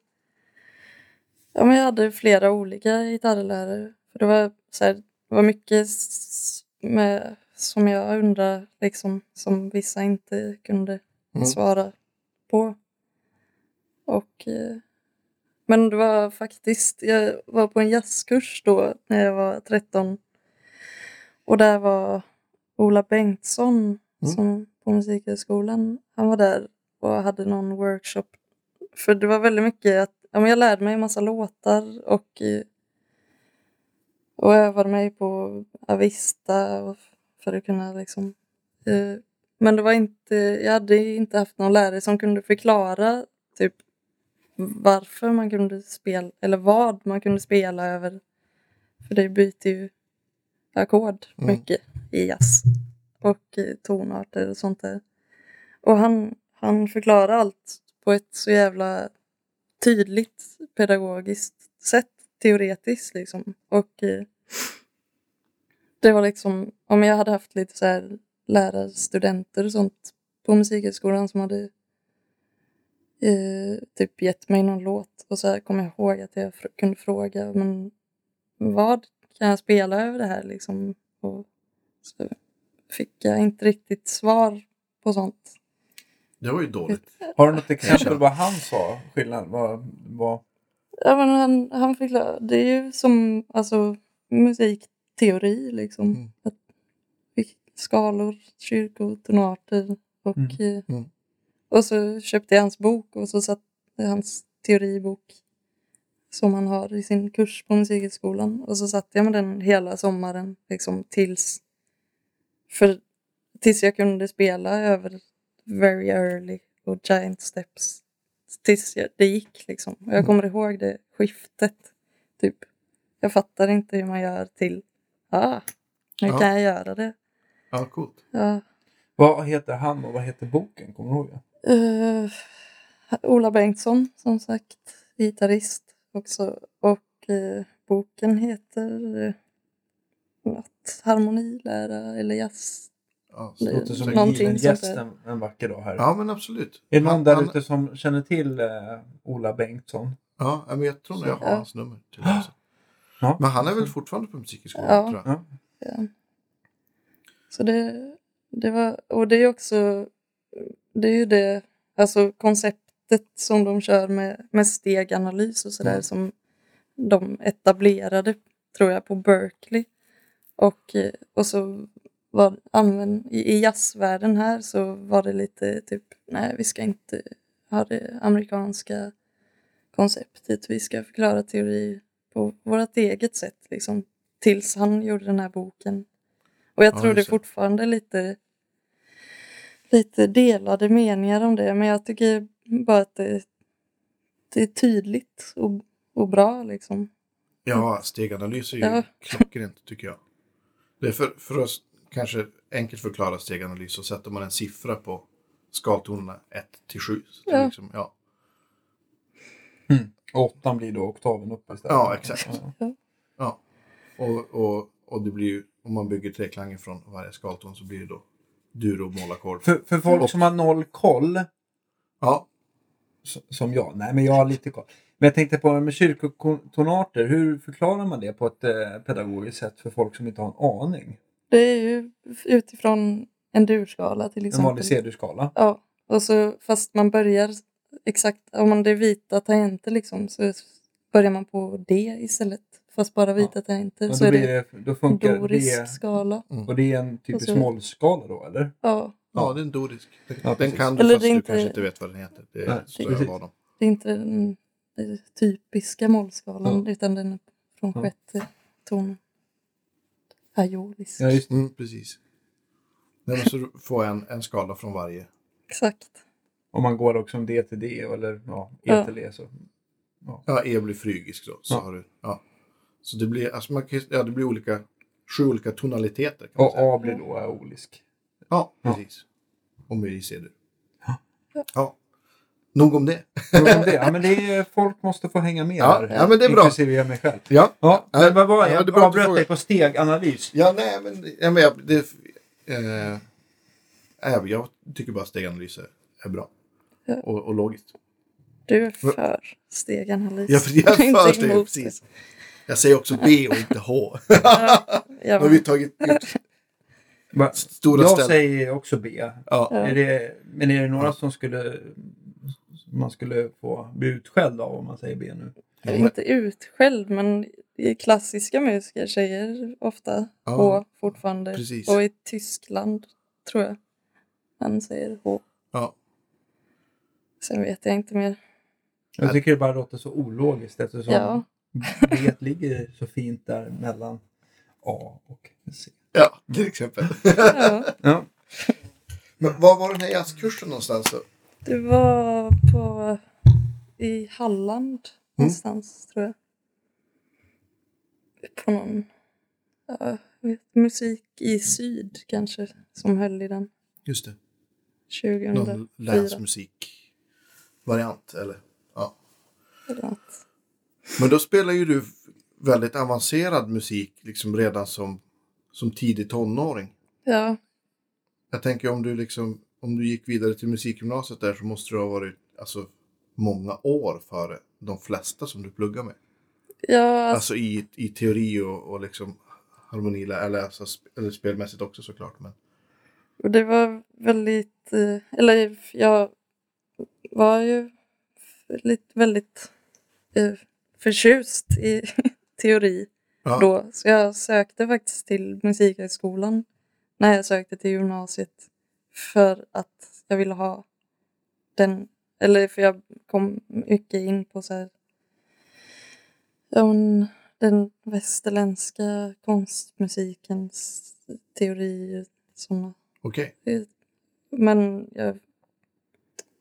Ja men jag hade flera olika gitarrlärare. För det var så här, det var mycket s- med, som jag undrar liksom som vissa inte kunde
Mm.
svara på. Och eh, men det var faktiskt, jag var på en jazzkurs då när jag var 13. Och där var Ola Bengtsson
Mm.
som på Musikhögskolan. Han var där och hade någon workshop. För det var väldigt mycket att ja, men jag lärde mig en massa låtar och, eh, och övade mig på Avista och för att kunna liksom... eh, Men det var inte, jag hade inte haft någon lärare som kunde förklara typ varför man kunde spela, eller vad man kunde spela över. För det byter ju ackord
Mm.
mycket i jazz. Och eh, tonarter och sånt där. Och han, han förklarar allt på ett så jävla tydligt pedagogiskt sätt, teoretiskt liksom. Och eh, det var liksom, om jag hade haft lite så här lärarstudenter och sånt på musikhögskolan som hade eh, typ gett mig någon låt och så här kom jag ihåg att jag fr- kunde fråga men vad kan jag spela över det här liksom? Och så fick jag inte riktigt svar på sånt.
Det var ju dåligt.
Har du något
Kanske.
exempel vad han sa? Skillnad? Vad, vad...
Ja, men han, han förklarar, det är ju som alltså, musikteori liksom.
Mm.
Att, vi- skalor, kyrkor, tonarter och,
Mm.
eh,
Mm.
och så köpte jag hans bok och så satt hans teoribok som han har i sin kurs på musikhögskolan och så satt jag med den hela sommaren liksom tills för, tills jag kunde spela över Very Early och Giant Steps tills jag, det gick liksom. Och jag kommer ihåg det skiftet. Typ. Jag fattar inte hur man gör till ah, nu
Ja.
kan jag göra det.
Ja, coolt.
Ja.
Vad heter han och vad heter boken? Kommer du ihåg? det?
Eh, Ola Bengtsson som sagt. gitarrist också. Och eh, boken heter eh, något, harmonilära eller jazz.
Ja,
Det låter som en
Någonting
given
sånt
gäst
där.
en, en vacker dag här.
ja men absolut.
Är det någon
Han-
där
han-
ute som känner till eh, Ola Bengtsson?
Ja, men jag tror nog jag har
Ja.
hans nummer. Till och med.
Ja.
Men han är väl fortfarande på musikskolan?
Ja.
Tror jag.
Ja.
Ja. Så det, det var, och det är också, det är ju det, alltså konceptet som de kör med, med steganalys och sådär
Mm.
som de etablerade, tror jag, på Berkeley. Och, eh, och så var, använd, i, i jazzvärlden här så var det lite typ, nej vi ska inte ha det amerikanska konceptet, vi ska förklara teori på vårt eget sätt liksom. Tills han gjorde den här boken. Och jag
Ja,
tror det
just
är
det.
fortfarande lite, lite delade meningar om det, men jag tycker bara att det, det är tydligt och, och bra liksom.
Ja, steganalys är ju
Ja.
klockrent tycker jag. Det är för, för oss kanske enkelt förklara steganalys så sätter man en siffra på skaltonerna 1 till 7. Så det är
Ja.
Liksom, ja.
Och åttan blir då oktaven upp istället.
Ja, exakt.
Ja.
ja. Och, och, och det blir ju, om man bygger treklangen från varje skalton så blir det då duro mollackord.
För, för folk som har noll koll,
Ja,
s- som jag, nej men jag har lite koll. Men jag tänkte på med kyrkotonarter, hur förklarar man det på ett eh, pedagogiskt sätt för folk som inte har en aning?
Det är ju utifrån en durskala till
En
exempel.
vanlig C-dur-skala.
Ja, och så fast man börjar exakt, om man det är vita tangenter liksom så börjar man på D istället. Fast bara vita tangenter
Men
så
Då,
är
blir
det
det, då
en
funkar
dorisk
det.
skala.
Och det är en typisk
Och så-
mollskala då eller?
Ja,
ja, det är en dorisk. Den,
Ja,
den
precis.
kan du
Eller
fast
det är
du
inte-
kanske inte vet vad den heter. Det
Nej,
är
precis.
större av dem.
det är inte den eh, typiska mollskalan utan den är från
Ja.
sjätte tonen. Aiolisk.
Ja, just,
Mm, precis. Nej, men så du får en, en skala från varje.
Exakt.
om man går också om D till D eller ja, E
Ja.
till E. Så.
Ja, E blir frygisk då. Så,
Ja.
har du, ja. så det blir, alltså man kan, ju- ja, det blir olika, sju olika tonaliteter. Kan man
Och
säga.
A blir då aolisk.
Ja,
Ja.
precis. Om vi ser du. Ja. Nog om det.
Jo, men det, ja, men det är, folk måste få hänga med
Ja,
här.
ja, men det är bra.
Inklusive jag mig själv.
Ja,
Ja,
Ja,
men vad var
ja,
jag?
det
Jag
är bra att du
avbröt
frågar.
dig på steganalys.
ja nej men, ja, men jag, det, eh, jag, jag tycker bara steganalys är, är bra.
Ja.
Och, och logiskt.
Du är för steganalys.
Jag, jag,
Du är inte
jag, jag,
emot
precis. jag säger också B och inte H.
det. Ja,
Nu har vi tagit ut
Va?
stora
jag
ställ-
säger också B.
Ja.
Är det, men är det några som skulle som man skulle få bli utskälld av om man säger B nu?
Eller inte utskälld, men i klassiska musiker säger ofta
Ja,
H fortfarande.
precis.
Och i Tyskland tror jag han säger H.
Ja.
Sen vet jag inte mer.
Jag tycker det bara låter så ologiskt eftersom
Ja.
B ligger så fint där mellan A och C.
ja, till exempel.
Ja,
Ja.
Men var var den här jazzkursen någonstans då?
det var på i
Mm.
Halland någonstans tror jag. På någon ja, jag vet, musik i syd kanske som höll i den
Just det.
2004.
Någon länsmusikvariant eller? Ja.
eller något.
Men då spelar ju du väldigt avancerad musik liksom redan som, som tidig tonåring.
Ja,
Jag tänker om du liksom om du gick vidare till musikgymnasiet där så måste du ha varit alltså, många år före de flesta som du pluggar med.
ja alltså,
Alltså i, i teori och, och liksom harmonila eller, alltså, sp- eller spelmässigt också såklart. Men,
Och det var väldigt, eh, eller jag var ju väldigt, väldigt eh, förtjust i teori
ja.
då. Så jag sökte faktiskt till Musikhögskolan när jag sökte till gymnasiet för att jag ville ha den, eller för jag kom mycket in på så här, ja, men den västerländska konstmusikens teori och sådana
Okej.
men jag,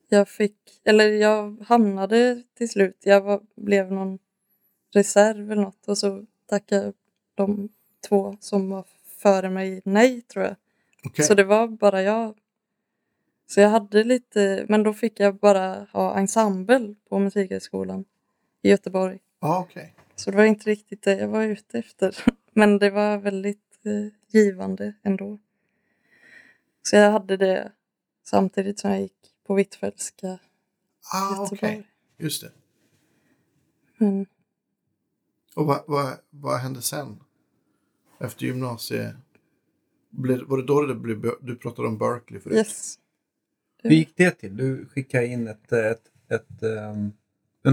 jag fick, eller jag hamnade till slut, jag var, blev någon reserv eller något och så tackade de två som var före mig nej tror jag.
Okej.
Så det var bara jag. Så jag hade lite, men då fick jag bara ha ensemble på Musikhögskolan. i Göteborg.
Ja, okej.
Så det var inte riktigt det jag var ute efter. Men det var väldigt eh, givande ändå. Så jag hade det samtidigt som jag gick på Hvitfeldtska i
Ah, okej.
Göteborg.
Just det.
Men
Och vad, vad, vad hände sen? Efter gymnasiet? Blev, var det då det blev, du pratade om Berkeley förut?
yes.
Hur gick det till? Du skickade in ett, ett, ett, ehm,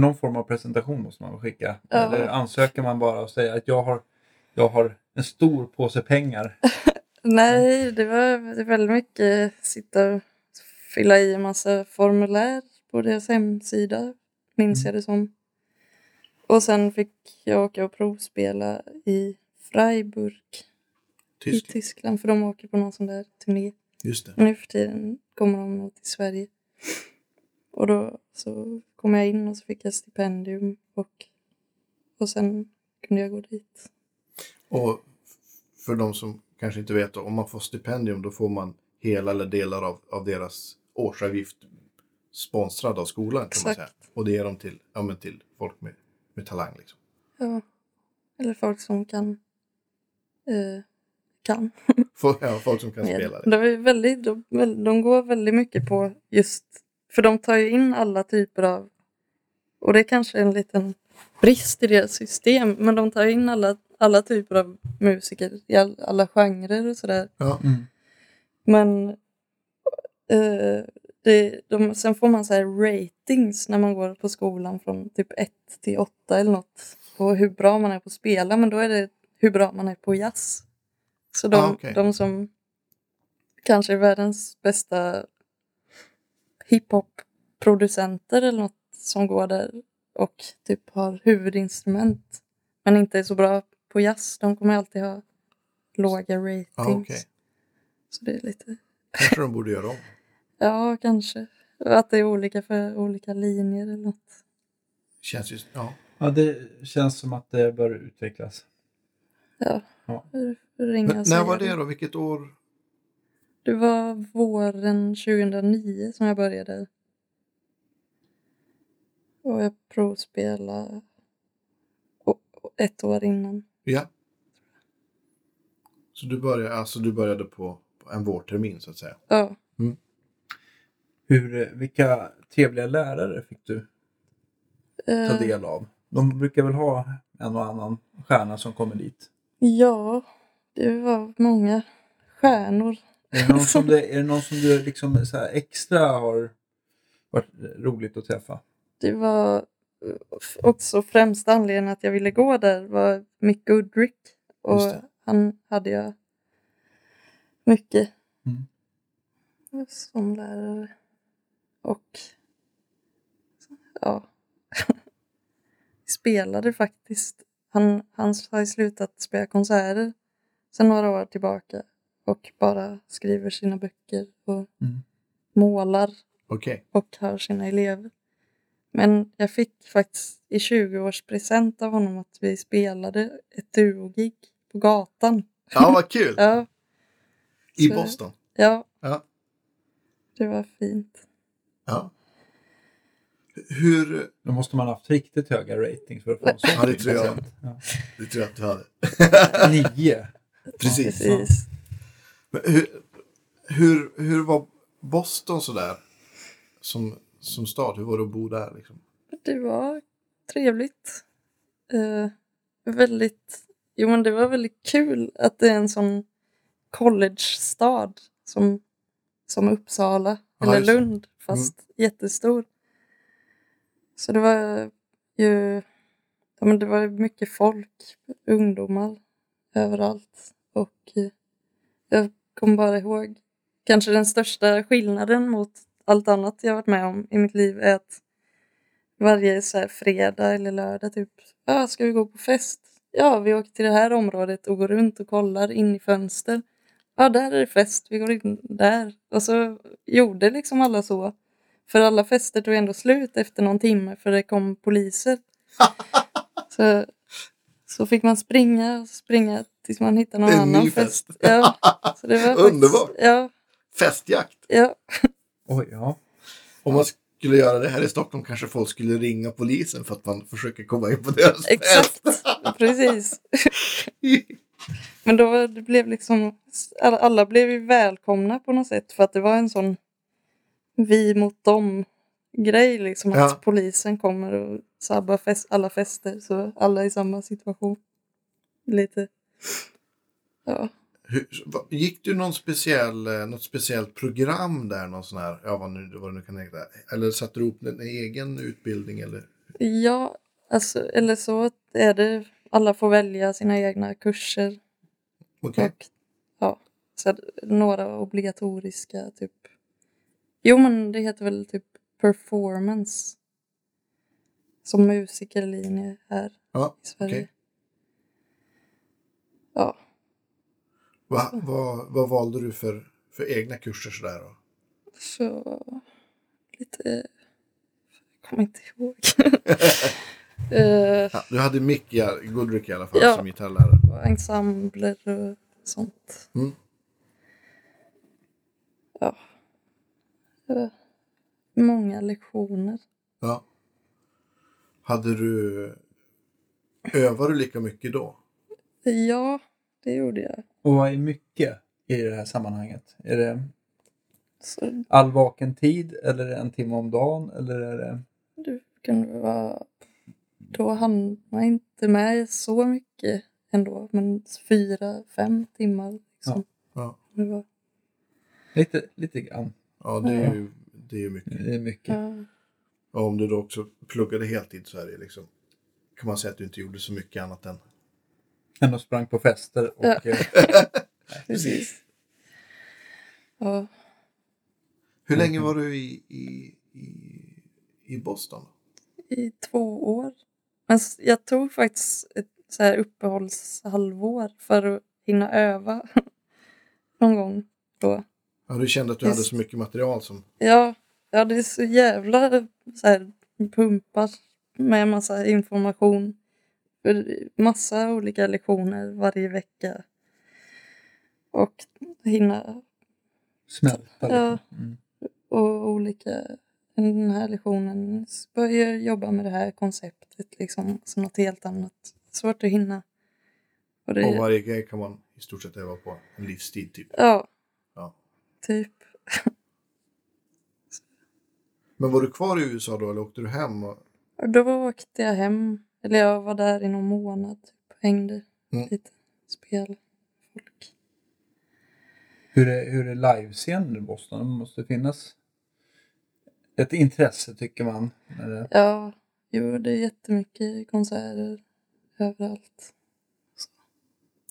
någon form av presentation måste man väl skicka?
Ja.
Eller ansöker man bara och säger att jag har, jag har en stor påse pengar?
Nej, det var det var väldigt mycket sitta och fylla i en massa formulär på deras hemsida,
Mm.
minns jag det som. Och sen fick jag åka och provspela i Freiburg i
Tyskland.
Tyskland, för de åker på någon sån där turné.
Just det.
Och nu för tiden kommer de nog till Sverige. Och då så kom jag in och så fick jag stipendium och, och sen kunde jag gå dit.
Och f- för de som kanske inte vet, då, om man får stipendium då får man hela eller delar av, av deras årsavgift sponsrad av skolan. Kan man säga.
Exakt.
Och det ger de till, ja, men till folk med, med talang. Liksom.
Ja. Eller folk som kan. Eh, kan.
Folk, ja, folk som kan spela. Det.
De, är väldigt, de, väl- de går väldigt mycket på just... För de tar ju in alla typer av... Och det är kanske en liten brist i deras system. Men de tar in alla, alla typer av musiker i all, alla genrer och sådär.
Ja.
Men eh, det, de, sen får man så här ratings när man går på skolan från typ 1 till 8 eller något. På hur bra man är på att spela, men då är det hur bra man är på jazz. Så de,
Ah, okej.
de som kanske är världens bästa hiphop-producenter eller något som går där och typ har huvudinstrument men inte är så bra på jazz, de kommer alltid ha låga ratings.
Ah, okej.
Så det är lite
Kanske de borde göra om.
Ja, kanske. Att det är olika för olika linjer eller något.
Känns just, ja.
Ja, det känns som att det bör utvecklas.
Ja.
Ja.
Hur- hur Ringa
Men,
och
när
säga
var det då? Vilket år?
Det var våren 2009 som jag började. Och jag provspelade o- o- ett år innan.
Ja. Så du började, alltså du började på, på en vårtermin så att säga.
Ja,
Hur, eh, vilka trevliga lärare fick du ta
eh,
del av? De brukar väl ha en och annan stjärna som kommer dit?
ja det var många stjärnor.
Är det någon som du, är det någon som du liksom så här extra har varit roligt att träffa?
Det var eh, f- också främsta anledningen att jag ville gå där var Mick Goodrick. Och
Just det.
han hade jag mycket
Mm.
som lärare. Och ja, spelade faktiskt. Han, han har ju slutat spela konserter sedan några år tillbaka och bara skriver sina böcker och
Mm.
målar
Okej.
och har sina elever. Men jag fick faktiskt i 20-årspresent av honom att vi spelade ett duogig på gatan.
Ja, vad kul!
Ja,
I
så-
Boston.
ja,
Ja.
det var fint.
ja. Hur...
Då måste man ha haft riktigt höga ratings för att få en sån
Ja, det tror jag.
present. Ja.
Det tror jag att du hade.
Nio.
Precis.
Precis.
Men hur, hur, hur var Boston sådär? Som, som stad, hur var det att bo där? Liksom?
Det var trevligt. Eh, väldigt... Jo, men det var väldigt kul att det är en sån college-stad som, som Uppsala
Ja,
eller
just det. Mm.
Lund, fast jättestor. Så det var ju... Ja, men det var mycket folk, ungdomar överallt. Och eh, jag kommer bara ihåg kanske den största skillnaden mot allt annat jag varit med om i mitt liv är att varje så här fredag eller lördag typ, ja ska vi gå på fest? Ja, vi åker till det här området och går runt och kollar in i fönster. Ja, där är det fest, vi går in där. Och så gjorde liksom alla så. För alla fester tog ändå slut efter någon timme för det kom poliser. så, så fick man springa och springa tills man hittade någon
En ny
annan
fest.
fest. Ja, så det var faktiskt-
Underbart.
Ja,
Festjakt!
ja,
Oj, ja.
Om man, skulle göra det här i Stockholm kanske folk skulle ringa polisen för att man försöker komma in på deras
Exakt, precis. Men då var- det blev liksom, alla- alla blev ju välkomna på något sätt för att det var en sån vi mot dem grej liksom att
Ja.
polisen kommer och sabbar fest, alla fester så alla är i samma situation. Lite. Ja.
Hur, va- gick du någon speciell, eh, något speciellt program där? Någon sån här, ja, vad, nu, vad det nu kan heta. Eller satte du upp en egen utbildning? Eller?
Ja, alltså, eller så är det. Alla får välja sina egna kurser.
Okej.
Och, ja, så att några obligatoriska, typ. Jo, men det heter väl typ performance. Som musikerlinje här
Ja,
i Sverige.
okej.
Ja,
Va, vad, vad valde du för, för egna kurser sådär? Då?
så lite... Jag kommer inte ihåg. Eh,
Ja, du hade Mick Jar- Goodrick i alla fall
Ja.
som gitarrlärare.
och ensembler och sånt.
Mm.
Ja. Det var många lektioner.
Ja. Hade du... Övade du lika mycket då?
Ja, det gjorde jag.
Och vad är mycket i det här sammanhanget? Är det
Så
all vaken tid eller är det en timme om dagen? Eller är det...
det kunde vara... Då hann man inte med så mycket ändå, men fyra, fem timmar. Liksom.
Ja.
Det var,
Lite, lite grann.
Ja, det är ju, det är ju mycket.
Det är mycket.
ja.
Och om du då också pluggade heltid så är det liksom... Kan man säga att du inte gjorde så mycket annat än...
Men de sprang på fester och...
Ja.
eh,
Precis. Ja,
Hur länge var du i, i, i, i Boston?
i två år. Men s- jag tog faktiskt ett så här uppehållshalvår för att hinna öva någon gång då.
Ja, du kände att du
Just-
hade så mycket material som...
Ja, ja det är så jävla så här, pumpar med massa information. För Massa olika lektioner varje vecka. Och hinna
smälta
Ja.
liksom. Mm.
och olika... Den här lektionen börjar jobba med det här konceptet liksom som något helt annat. Svårt att hinna. Och det,
Och varje grej kan man i stort sett öva på en livstid typ.
Ja,
Ja.
typ.
Men var du kvar i USA då eller åkte du hem? Och...
Och då åkte jag hem. Eller jag var där i någon månad. Typ. Hängde
Mm.
lite. Spel. Folk.
Hur är, hur är livescenen i Boston? Det måste finnas ett intresse tycker man. När det...
Ja, jo, det är jättemycket konserter överallt.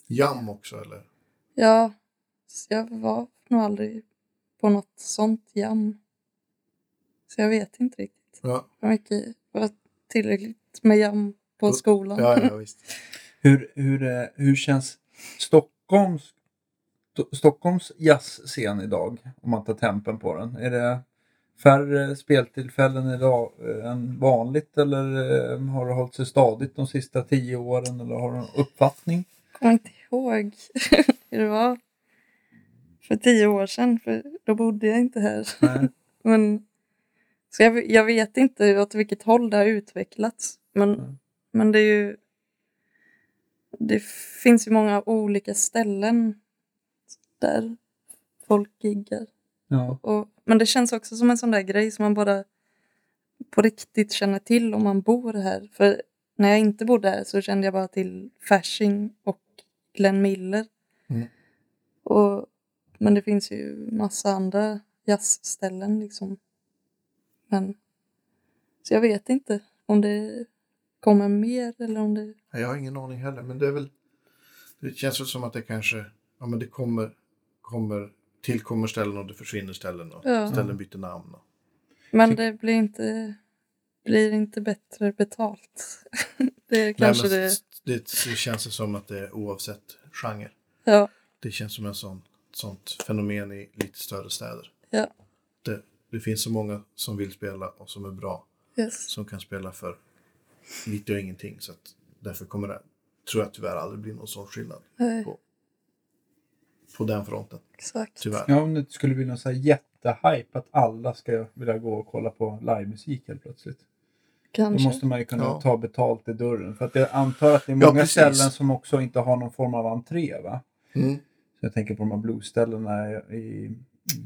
Jam också eller?
Ja, så jag var nog aldrig på något sånt jam. Så jag vet inte riktigt.
Ja,
Det var, mycket, det var tillräckligt med jam på
Ja.
skolan.
Mm. ja, ja visst.
Hur, hur, eh, hur känns Stockholms, Sto- Stockholms jazzscen idag? Om man tar tempen på den. Är det färre speltillfällen idag eh, än vanligt eller eh, har det hållit sig stadigt de sista tio åren? Eller har du någon uppfattning?
kommer inte ihåg hur det var för tio år sedan, för då bodde jag inte här.
Nej.
Men, så jag, jag vet inte åt vilket håll det har utvecklats. Men,
Mm.
men det är ju... Det finns ju många olika ställen där folk giggar.
Ja.
Och, men det känns också som en sån där grej som man bara på riktigt känner till om man bor här. För när jag inte bodde här så kände jag bara till Fasching och Glenn Miller.
Mm.
Och, men det finns ju massa andra jazzställen liksom. Men, så jag vet inte om det kommer mer eller om det...
Nej, Jag har ingen aning heller, men det är väl... Det känns väl som att det kanske... Ja, men det kommer... kommer tillkommer ställen och det försvinner ställen och
Ja.
ställen byter namn. Och...
Men
Tyck-
det blir inte, blir inte bättre betalt. det är
Nej,
kanske
men
det...
s- det... Det känns det som att det är oavsett genre.
Ja.
Det känns som en sån, sånt fenomen i lite större städer.
Ja.
Det, det finns så många som vill spela och som är bra,
Yes.
som kan spela för lite och ingenting. Så att därför kommer det, tror jag tyvärr aldrig bli någon sån skillnad
Nej,
på den fronten.
exakt.
Tyvärr.
Ja, om det inte skulle bli någon så här jätte jättehype att alla ska vilja gå och kolla på livemusik helt plötsligt. Då
Kanske.
måste man ju kunna
Ja.
ta betalt i dörren. För att jag antar att det är
Ja,
många
precis.
ställen som också inte har någon form av entré va?
Mm.
Så jag tänker på de här bluesställena i, i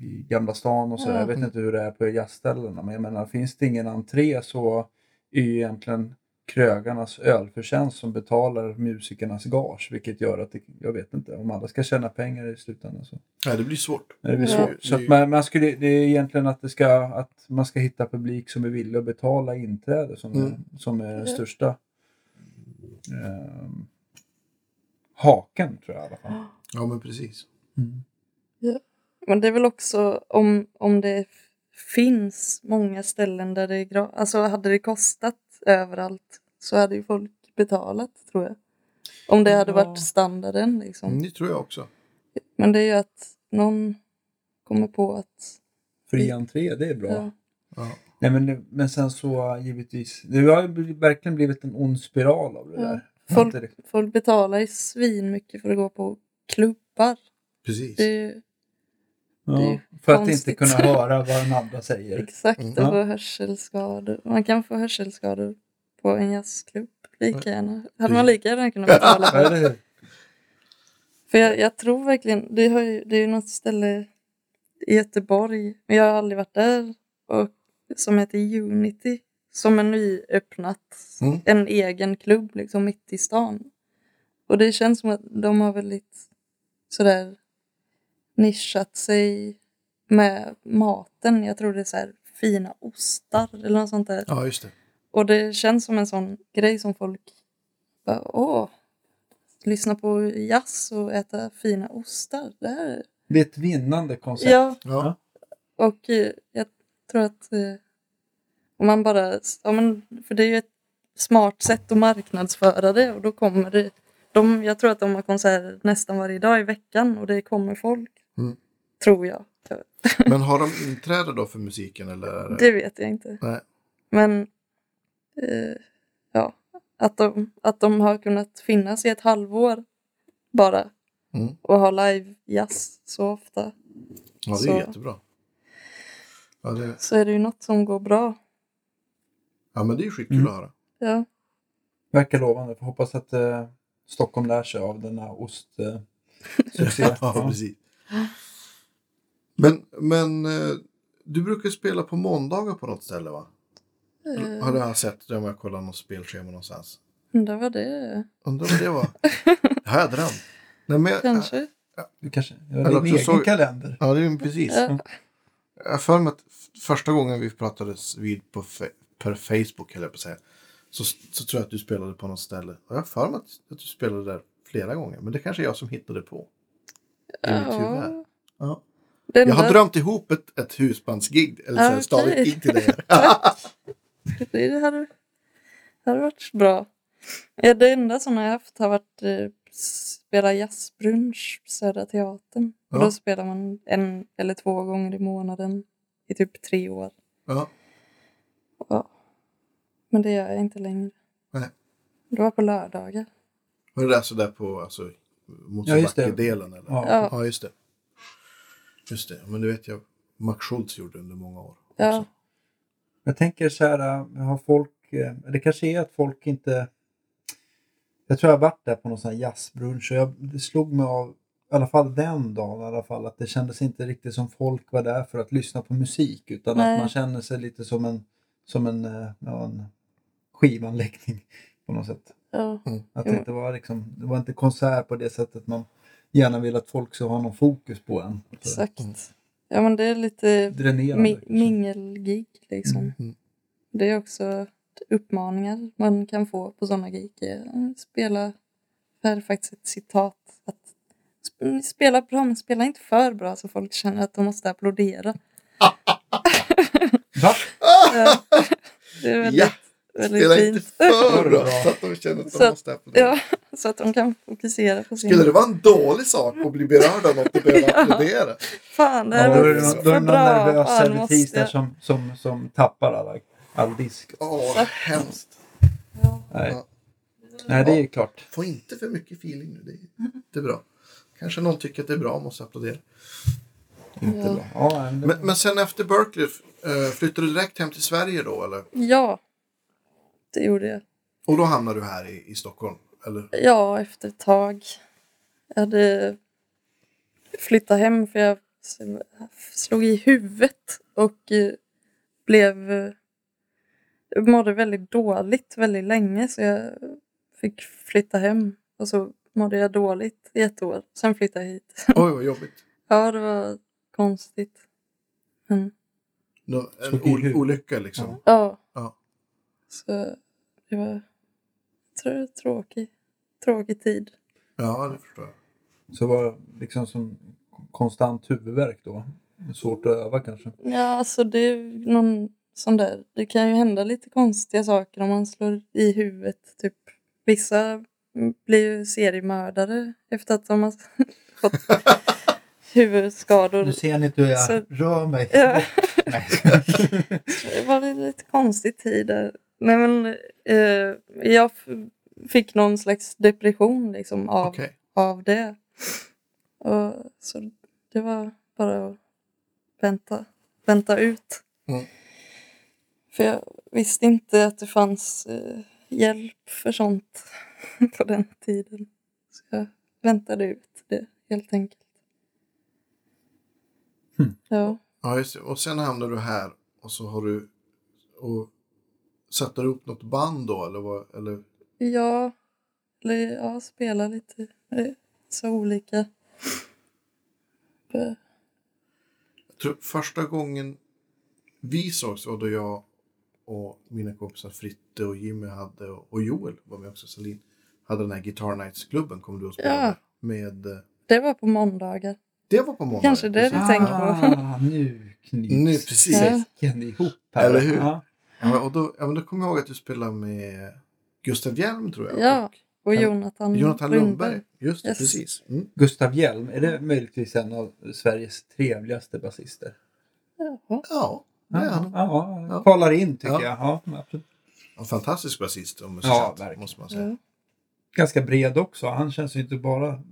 i Gamla stan och så.
Ja.
Jag vet inte hur det är på jazzställena. Men jag menar, finns det ingen entré så är ju egentligen krögarnas ölförtjänst som betalar musikernas gage. Vilket gör att, det, jag vet inte, om alla ska tjäna pengar i slutändan så.
Ja, det blir svårt.
Nej, Det blir
Ja.
svårt. Så att man, man skulle, det är egentligen att, det ska, att man ska hitta publik som är villig att betala inträde som,
Mm.
är, som är den
Ja.
största ehm, haken tror jag i alla fall. Mm.
Ja, men precis.
Men det är väl också om, om det f- finns många ställen där det är gratis. Alltså hade det kostat överallt så hade ju folk betalat tror jag. Om det hade
Ja.
varit standarden liksom.
Mm, det tror jag också.
Men det är ju att någon kommer på att...
Fri entré, det är bra.
Mm. Ja.
Ja.
Nej, men, det- men sen så givetvis, det har ju bli- verkligen blivit en ond spiral av det
Ja.
där.
Folk,
Att det-
folk betalar ju svin mycket för att gå på klubbar.
Precis.
Det är
Mm.
ju
ja,
det är ju
för att inte
konstigt.
kunna höra vad den andra säger.
exakt
Mm.
att
Ja.
få hörselskador. Man kan få hörselskador på en jazzklubb. Lika gärna. Hade man lika gärna kunnat betala för det.
Eller hur?
För jag, jag tror verkligen, det, har ju, det är ju något ställe i Göteborg, men jag har aldrig varit där, och, som heter Unity. Som är nyöppnat,
Mm.
en egen klubb liksom mitt i stan. Och det känns som att de har väldigt sådär nischat sig med maten. Jag tror det är så här fina ostar eller något sånt där.
Ja, just det.
Och det känns som en sån grej som folk bara, åh, lyssna på jazz och äta fina ostar. Det här är...
Det är ett vinnande koncept.
Ja,
Ja.
och eh, jag tror att eh, om man bara, ja, men, för det är ju ett smart sätt att marknadsföra det och då kommer det, de, jag tror att de har konserter nästan varje dag i veckan och det kommer folk.
Mm.
Tror jag.
Men har de inträde då för musiken? Eller? är det-
Det vet jag inte.
Nej.
Men eh, ja, att de, att de har kunnat finnas i ett halvår bara
Mm.
och ha live jazz så ofta
Ja, det är
så-
jättebra. Ja, det...
så är det ju något som går bra.
ja, men det är ju skitkul
Mm.
att höra.
Ja,
Verkar lovande. Får hoppas att eh, Stockholm lär sig av denna ost... Eh, succé.
ja,
Typ. Ja.
precis. Men, men eh, du brukar spela på måndagar på något ställe va?
eh,
Har du jag sett om jag kollar något spelschema någonstans?
undrar vad det är.
Undrar vad det var? Det har jag drömt. Nej, men jag,
Kanske.
Du kanske... Ja,
Eller
din
också
egen
såg-
kalender.
ja, det är ju precis.
Ja.
Jag har för mig att f- första gången vi pratades vid på, fe- per Facebook, eller på att säga, så, så tror jag att du spelade på något ställe. Och jag har för mig att, att du spelade där flera gånger. Men det kanske är jag som hittade på. Det är mitt huvud här.
Ja.
Ja.
Det
Jag har
enda-
drömt ihop ett, ett husbandsgig, eller
Ah,
ah, ett stavigt
okej.
gig till dig.
Det hade, hade varit bra. Ja, det enda som jag haft har varit eh, spela jazzbrunch på Södra Teatern. Och
Ja.
då spelar man en eller två gånger i månaden i typ tre år.
ja.
Ja. Men det gör jag inte längre.
Nej.
Det var på lördagar.
Var det där sådär på alltså,
Ja, just det.
Mosebacke-delen? eller?
Ja.
Ja.
ja, just det. Just det, men det vet jag. Max Schultz gjorde under många år.
Ja,
också.
Jag tänker så här, äh, har folk... eh, Det kanske är att folk inte... Jag tror jag har varit där på någon sån här jazzbrunch och jag, det slog mig av, i alla fall den dagen, i alla fall, att det kändes inte riktigt som folk var där för att lyssna på musik utan
Nej.
att man känner sig lite som en, som en, eh, ja, en skivanläggning på något sätt.
ja.
Att
Jo,
det
men-
inte var liksom, det var inte konsert på det sättet man gärna vill att folk ska ha någon fokus på en. äh, Så
exakt.
Mm.
Ja, men det är lite
Dränerande.
mi-
kanske.
mingelgig liksom.
Mm.
Det är också uppmaningar man kan få på sådana gig. Spela, det här är faktiskt ett citat. Att sp- spela bra, men spela inte för bra så folk känner att de måste applådera.
Va?
Ja. det är väldigt,
Ja,
väldigt
Spela
fint.
inte för
Bra.
bra så att de känner att
Så
de
att-
måste applådera.
Ja, så att de kan fokusera på sin...
Skulle det vara en dålig sak att bli berörd av något och behöva
Ja.
applådera?
Fan, det
Ja,
här
då är
var
det
för
någon, då är det någon
bra.
nervös
Fan, måste
servitris där
jag...
som, som, som tappar alla, all disk.
Åh,
Så-
hemskt.
Ja.
Nej.
Ja.
Nej, det är ju klart.
Få inte för mycket feeling nu. Det är inte bra. Kanske någon tycker att det är bra och måste applådera.
Inte
Ja.
la- ja, men det-
Men, men sen efter Berkeley, eh, flyttade du direkt hem till Sverige då eller?
Ja, det gjorde jag.
Och då hamnade du här i, i Stockholm? Eller?
Ja, efter ett tag. Jag hade flyttat hem för jag slog i huvudet och eh, blev... eh, mådde väldigt dåligt väldigt länge så jag fick flytta hem. Och så mådde jag dåligt i ett år. Sen flyttade jag hit.
Oj, vad jobbigt.
Ja, det var konstigt. Men
Nå- En
Slog i
o-
huvudet.
olycka liksom.
ja.
Ja.
Så det var jag tror det var tråkig, tråkig tid.
Ja, det förstår jag.
Så var det liksom som konstant huvudvärk då. Svårt att öva kanske.
Ja, alltså det är ju någon sån där. Det kan ju hända lite konstiga saker om man slår i huvudet. Typ. Vissa blir ju seriemördare efter att de har fått huvudskador.
ser ni inte hur
jag Så-
rör mig.
Ja. Det var en lite konstig tid där. Nej, men, eh, jag f- fick någon slags depression liksom, av,
Okej.
av det. Och, så det var bara att vänta, vänta ut.
Mm.
För jag visste inte att det fanns eh, hjälp för sånt på den tiden. Så jag väntade ut det helt enkelt.
Hmm.
Ja.
Ja, just det. Och sen hamnade du här och så har du... Och satte du upp något band då eller? Vad, eller
Ja, eller ja, spela lite. Det är så olika. Bö-
jag tror första gången vi sågs var då jag och mina kompisar Fritte och Jimmy hade och Joel var med också, Salin, hade den här Guitar Nights-klubben kom du och spelade
Ja.
med. eh,
Det var på måndagar.
Det var på måndag.
Kanske det du tänker på.
Ah, nu
Nu,
knyts
precis.
säcken ihop här.
Eller hur?
Ja.
Ja, men, och då, ja, men då kommer jag ihåg att du spelade med Gustav Hjelm tror jag.
Ja, och
Kan-
Jonathan,
Och Jonathan Lundberg. Just det,
Yes.
precis. Mm.
Gustav Hjelm, är det möjligtvis en av Sveriges trevligaste basister?
Ja.
Ja, det är han.
ja,
Ja.
kvalar in tycker
Ja.
jag. Ja, absolut.
En fantastisk basist och
Ja,
musikant
verkligen.
måste man säga.
Ja.
Ganska bred också. Han känns ju inte bara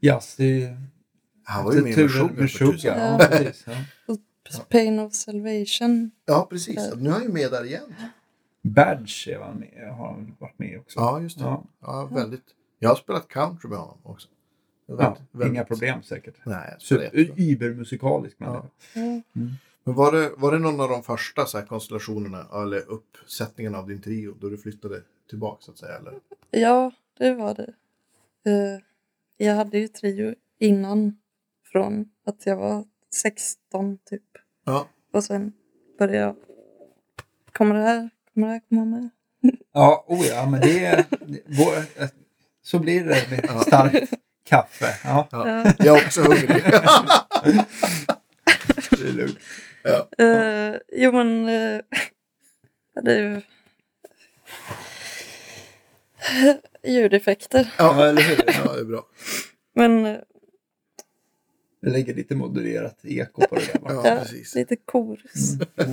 jazz. Det är
Han var ju med i
turen-
versionen för tusen.
Ja,
Ja.
precis. Ja.
Pain of Salvation.
Ja, precis. Nu är han ju med där igen.
Badge är han med, har han varit med också.
Ja, just det. Ja.
Ja.
väldigt. Jag har spelat country med honom också. Det är
Ja,
väldigt- väldigt-
Inga problem säkert.
Nej, jag spelar
Super-
jättebra.
Übermusikalisk människa.
Ja.
Men var det, var det någon av de första så här, konstellationerna eller uppsättningen av din trio då du flyttade tillbaka så att säga? Eller?
ja, det var det. Eh, Jag hade ju trio innan från att jag var 16 typ.
Ja,
Och sen började jag... Kommer det här, kommer det här komma med?
Ja, oh ja, men det är... det- Vår, så blir det med starkt kaffe. Ja,
Ja.
jag är också hungrig.
det är lugnt.
Eh, jo, men... eh, det är ju... Ljudeffekter.
Ja,
ja,
eller hur?
ja, det är bra.
Men eh,
Jag lägger lite modererat eko på det där. va?
Ja, precis.
lite korus.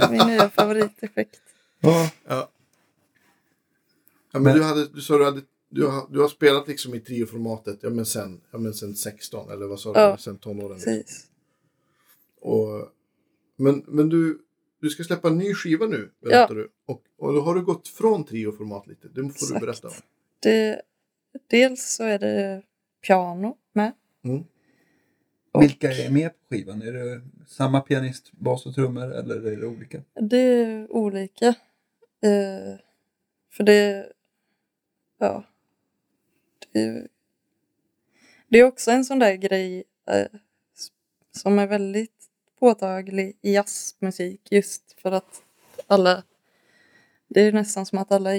Min nya favoriteffekt.
Ja.
Ja. Ja, men du, hade, du sa du hade du har, du har spelat liksom i trioformatet ja, men sen, ja, men sen 16 eller vad sa du?
Ja.
Sen tonåren.
Precis.
Och, men men du, du ska släppa en ny skiva nu, berättar du. Och, och då har du gått från trioformat lite. Det får du berätta om.
Exakt. Det, dels så är det piano med.
Mm.
Och
Vilka är med på skivan? Är det samma pianist, bas och trummor eller är det olika?
Det är olika. Eh, för det... Ja. Det är, det är också en sån där grej eh, s- som är väldigt påtaglig i jazzmusik just för att alla... Det är nästan som att alla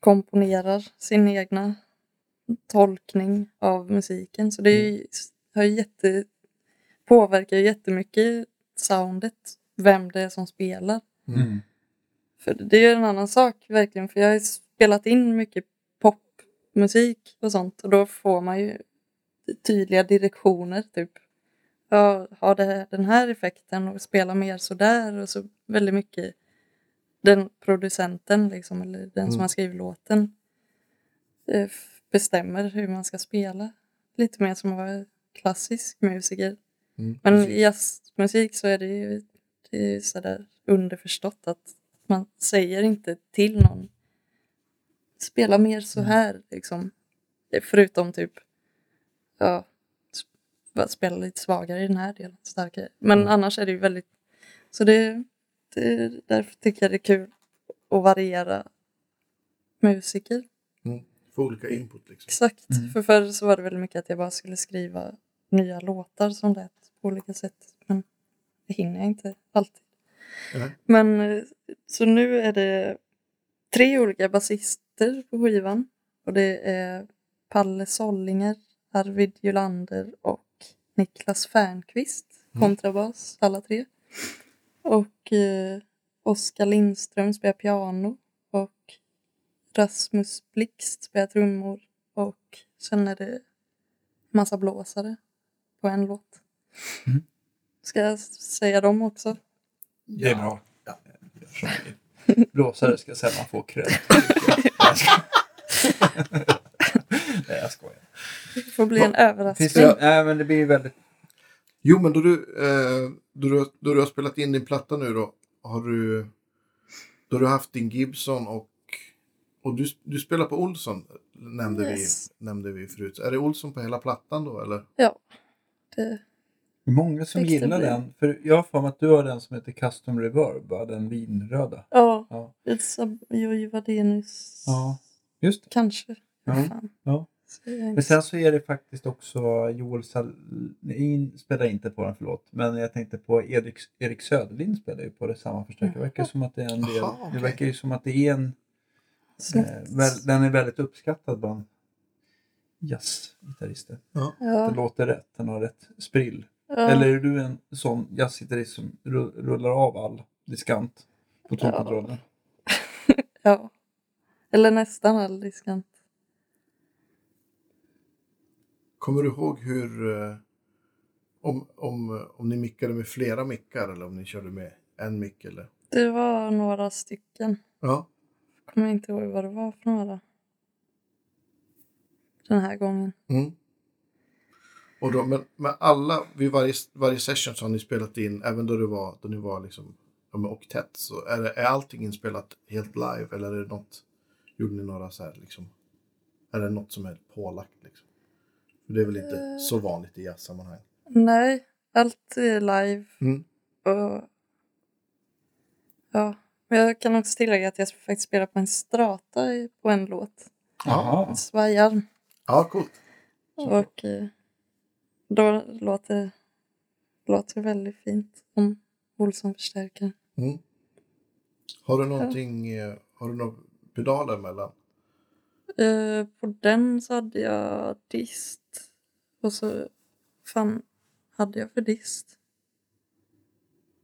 komponerar sin egna tolkning av musiken. Så det är, ju- har ju jätte, påverkar ju jättemycket soundet, vem det är som spelar.
Mm.
För det är ju en annan sak verkligen. För jag har ju spelat in mycket popmusik och sånt. Och då får man ju tydliga direktioner. Typ. Ja, ha det här, den här effekten och spela mer sådär. Och så väldigt mycket den producenten liksom. Eller den
Mm.
som har skrivit låten. eh, f- Bestämmer hur man ska spela. Lite mer som att vara klassisk musiker.
Mm,
Men
precis.
i jazzmusik så är det ju, det är ju sådär underförstått att man säger inte till någon spela mer så
Mm.
här liksom. Förutom typ ja, s- bara spela lite svagare i den här delen, starkare. Men
Mm.
annars är det ju väldigt så det, det därför tycker jag det är kul att variera musiker.
Få olika input liksom.
Exakt,
Mm.
för förr så var det väl mycket att jag bara skulle skriva nya låtar som lät på olika sätt. Men det hinner jag inte alltid.
Nej.
Men eh, så nu är det tre olika basister på skivan. Och det är Palle Sollinger, Arvid Jolander och Niklas Fernqvist,
Mm.
kontrabas, alla tre. Och eh, Oskar Lindström spelar piano och Rasmus Blixt spelar trummor och sen är det massa blåsare på en låt.
Mm.
Ska jag s- säga dem också?
Det är bra.
Ja.
Gör som vi. Blåsare ska sällan få cred. Nej, jag skojar.
Det får bli en överraskning.
Finns det, nej, men det blir ju väldigt...
Jo, men då du, eh, då, du, då du har spelat in din platta nu då, har du, då du har haft din Gibson och, och du, du spelar på Olsson, nämnde,
Yes.
vi, nämnde vi förut. Är det Olsson på hela plattan då, eller?
Ja. Det,
Många som
Fick det
gillar
bli.
den. För jag har för mig att du har den som heter Custom Reverb, va? den vinröda.
ja,
Ja,
it's a Jojje Wadenius.
ja just det.
Kanske.
Ja,
Fan.
ja.
Så jag är inte
Men sen så är det faktiskt också Joel Salin spelar inte på den, förlåt. Men jag tänkte på Erik, Erik Söderlind spelar ju på det samma förstärkare. Det verkar som att det är en del.
Jaha, okej.
Det verkar ju som att det är en
så
Eh, väl, den är väldigt uppskattad bland jazzgitarrister. Den
ja.
låter rätt, den har rätt sprill.
ja.
Eller är du en sån jazzgitarrist som ru- rullar av all diskant på tonkontrollen?
ja. Eller nästan all diskant.
Kommer du ihåg hur, eh, om, om, om ni mickade med flera mickar eller om ni körde med en mick eller?
Det var några stycken.
Ja.
Kommer inte ihåg vad det var för några. Den här gången.
Mm. Och då, men, men alla, vid varje, varje session så har ni spelat in, även då det var, då ni var liksom, ja, med oktett, så är, det, är allting inspelat helt live eller är det något, gjorde ni några så här liksom, är det något som är pålagt liksom? För det är väl inte
Eh.
så vanligt i jazzsammanhang.
Nej, allt är live.
Mm.
Och... Ja. Men jag kan också tillägga att jag faktiskt spelar på en strata i- på en låt.
Jaha.
En svajarm.
Ja, coolt.
Och eh, då låter det låter väldigt fint om Olsson förstärker.
Mm. Har du någonting, eh, har du några pedaler mellan?
Eh, på den så hade jag dist. Och så fan hade jag för dist?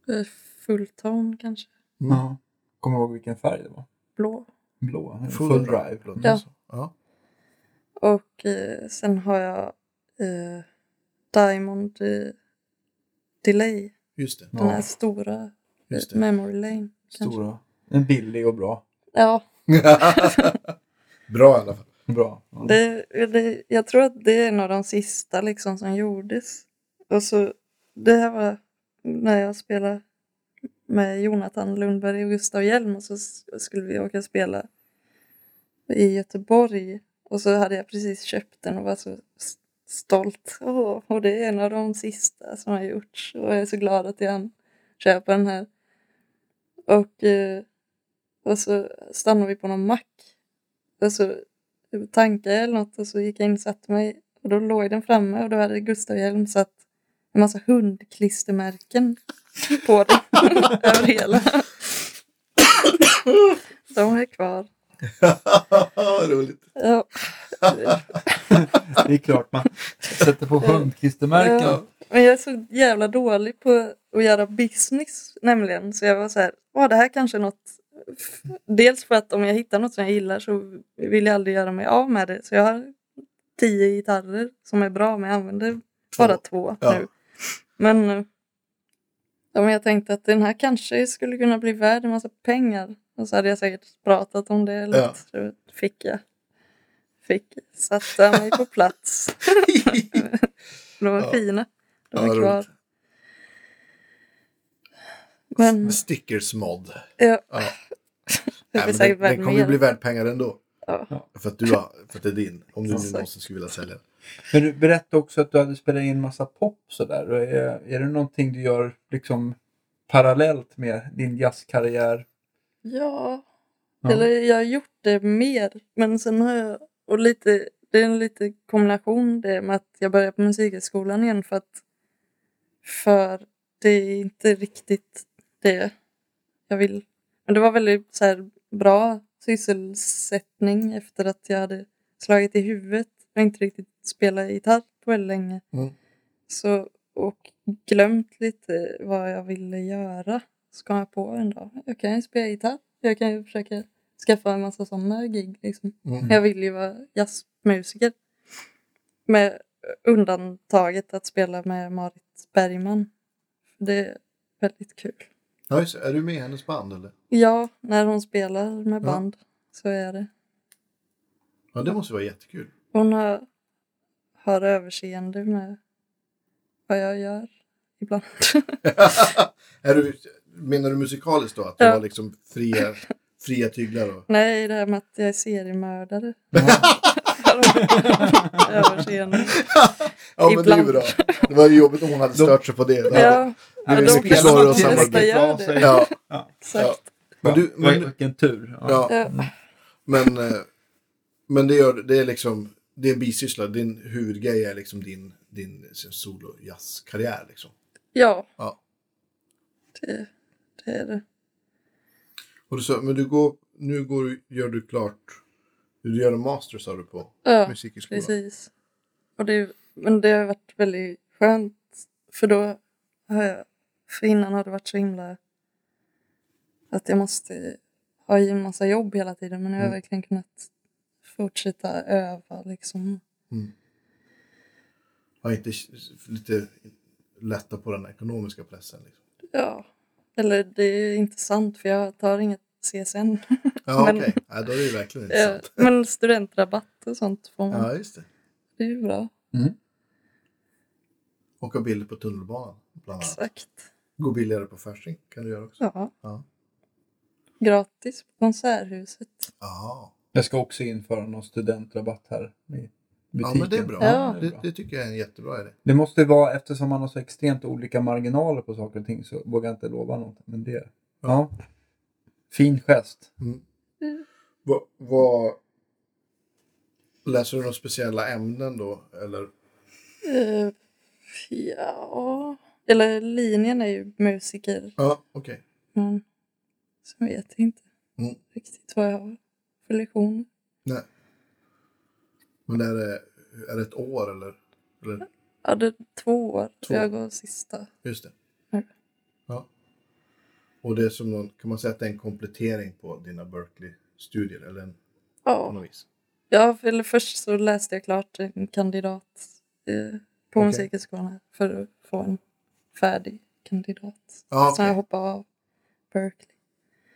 Uh, Fulltone kanske?
Mm.
Ja. Kommer du ihåg vilken färg det var?
Blå.
Blå? Full, drive. Mm.
låter
Ja.
det som. ja.
Och eh, sen har jag eh, Diamond eh, Delay.
Just det.
Den
Ja.
här stora
Just
eh,
det.
Memory Lane. kanske.
Stora. En billig och bra.
Ja,
Bra i alla fall.
Bra. Ja.
det, det, jag tror att det är en av de sista liksom som gjordes. Och så, det här var när jag spelade med Jonathan Lundberg och Gustav Hjelm och så s- skulle vi åka och spela i Göteborg. Och så hade jag precis köpt den och var så s- stolt. Åh, och det är en av de sista som har gjorts och jag är så glad att jag hann köpa den här. Och, eh, och så stannade vi på någon mack. Och så tankar typ eller något och så gick jag in och satte mig och då låg den framme och då hade Gustav Hjelm satt en massa hundklistermärken på den över hela. De är kvar.
Roligt.
Ja,
Det är klart man sätter på hundklistermärken.
ja. Men jag är så jävla dålig på att göra business nämligen så jag var så här, åh det här kanske är något Dels för att om jag hittar något som jag gillar så vill jag aldrig göra mig av med det. Så jag har tio gitarrer som är bra men jag använder bara två
Ja.
nu. Men, eh, ja, men jag tänkte att den här kanske skulle kunna bli värd en massa pengar. Och så hade jag säkert pratat om det. Eller
Ja.
något. Så fick jag. Fick satta mig på plats. De är
Ja.
fina. De
Ja,
är
roligt.
kvar. Men
Stickers mod.
ja,
Ja. Nej,
det blir
men
säkert
den,
värt
den kommer ju bli
mer.
värd pengar ändå.
Ja.
För att, du har, för att det är din. Om du
Ja,
nu
så.
någonsin skulle vilja sälja den.
Men du berättade också att du hade spelat in massa pop sådär. Och Är, är det någonting du gör liksom parallellt med din jazzkarriär?
Ja,
Ja.
eller jag har gjort det mer. Men sen har jag, och lite, det är en lite kombination det med att jag börjar på musikhögskolan igen för att för det är inte riktigt det jag vill. Men det var väldigt så här, bra sysselsättning efter att jag hade slagit i huvudet och inte riktigt spelat gitarr på väldigt länge.
Mm.
Så, och glömt lite vad jag ville göra. Så kom jag på en dag, jag kan ju spela gitarr. Jag kan ju försöka skaffa en massa sådana gig. Liksom.
Mm.
Jag vill ju vara jazzmusiker. Med undantaget att spela med Marit Bergman. Det är väldigt kul.
Ja, just, det. är du med i hennes band eller?
Ja, när hon spelar med band så är det.
Ja, det måste vara jättekul.
Hon har, har överseende med vad jag gör ibland.
är du, menar du musikaliskt då? Att du
Ja.
har liksom fria, fria tyglar? Och...
Nej, det här med att jag är seriemördare.
Ja.
har hon överseende.
Ja, men det är
Ibland.
ju bra. Det var ju jobbigt om hon hade stört sig på det.
Ja,
Det är
Ja, då
mycket
kanske
sorg och
de flesta
samarbete.
gör det.
Ja,
exakt. Eh,
men du,
Vil-
men,
Vilken tur. Ja.
ja,
Ja.
men, eh, men det, gör, det är liksom, det är en bisyssla. Din huvudgrej är liksom din, din solo jazzkarriär liksom.
Ja.
Ja.
Det, det är det.
Och du sa, men du går, nu går, du- gör du klart, du gör en master sa du på
Ja,
musikhögskolan.
precis. Och det, men det har varit väldigt skönt. För då har jag, för innan har det varit så himla att jag måste ha i en massa jobb hela tiden. Men nu har jag
Mm.
verkligen kunnat fortsätta öva liksom.
Ja, inte lite lätta på den ekonomiska pressen. Liksom.
Ja. Eller det är inte sant för jag tar inget CSN.
Ja,
Men-
okej. Ja, då är det ju verkligen
Ja,
intressant.
men studentrabatt och sånt får man.
Ja, just det.
Det är ju bra.
Åka bilder på tunnelbanan, bland annat.
Exakt.
Gå billigare på Fasching kan du göra också.
Ja.
Ja.
Gratis på Konserthuset.
Ja,
Jag ska också införa någon studentrabatt här i
ja
butiken.
men det är bra.
Ja.
Det, är
Det,
bra.
det tycker jag är en jättebra idé.
det måste vara, eftersom man har så extremt olika marginaler på saker och ting så vågar jag inte lova något. Men det, ja. Fin gest.
Vad, vad... Läser du några speciella ämnen då? Eller?
Eh, ja... Eller linjen är ju musiker.
Ja, okej.
Men så vet jag inte
Mm.
riktigt vad jag har för lektion.
Nej. Men är det, är det ett år eller? eller?
Ja, det är två år.
Två.
Jag går sista.
Just det.
Mm.
Ja. Och det är som någon, kan man säga att det är en komplettering på dina Berkeley-studier? Eller en, på
Ja.
något vis?
ja, för- eller först så läste jag klart en kandidat eh, på
Okej.
musikhögskolan här för att få en färdig kandidat.
Ja,
Så jag
okej.
hoppade av Berkeley.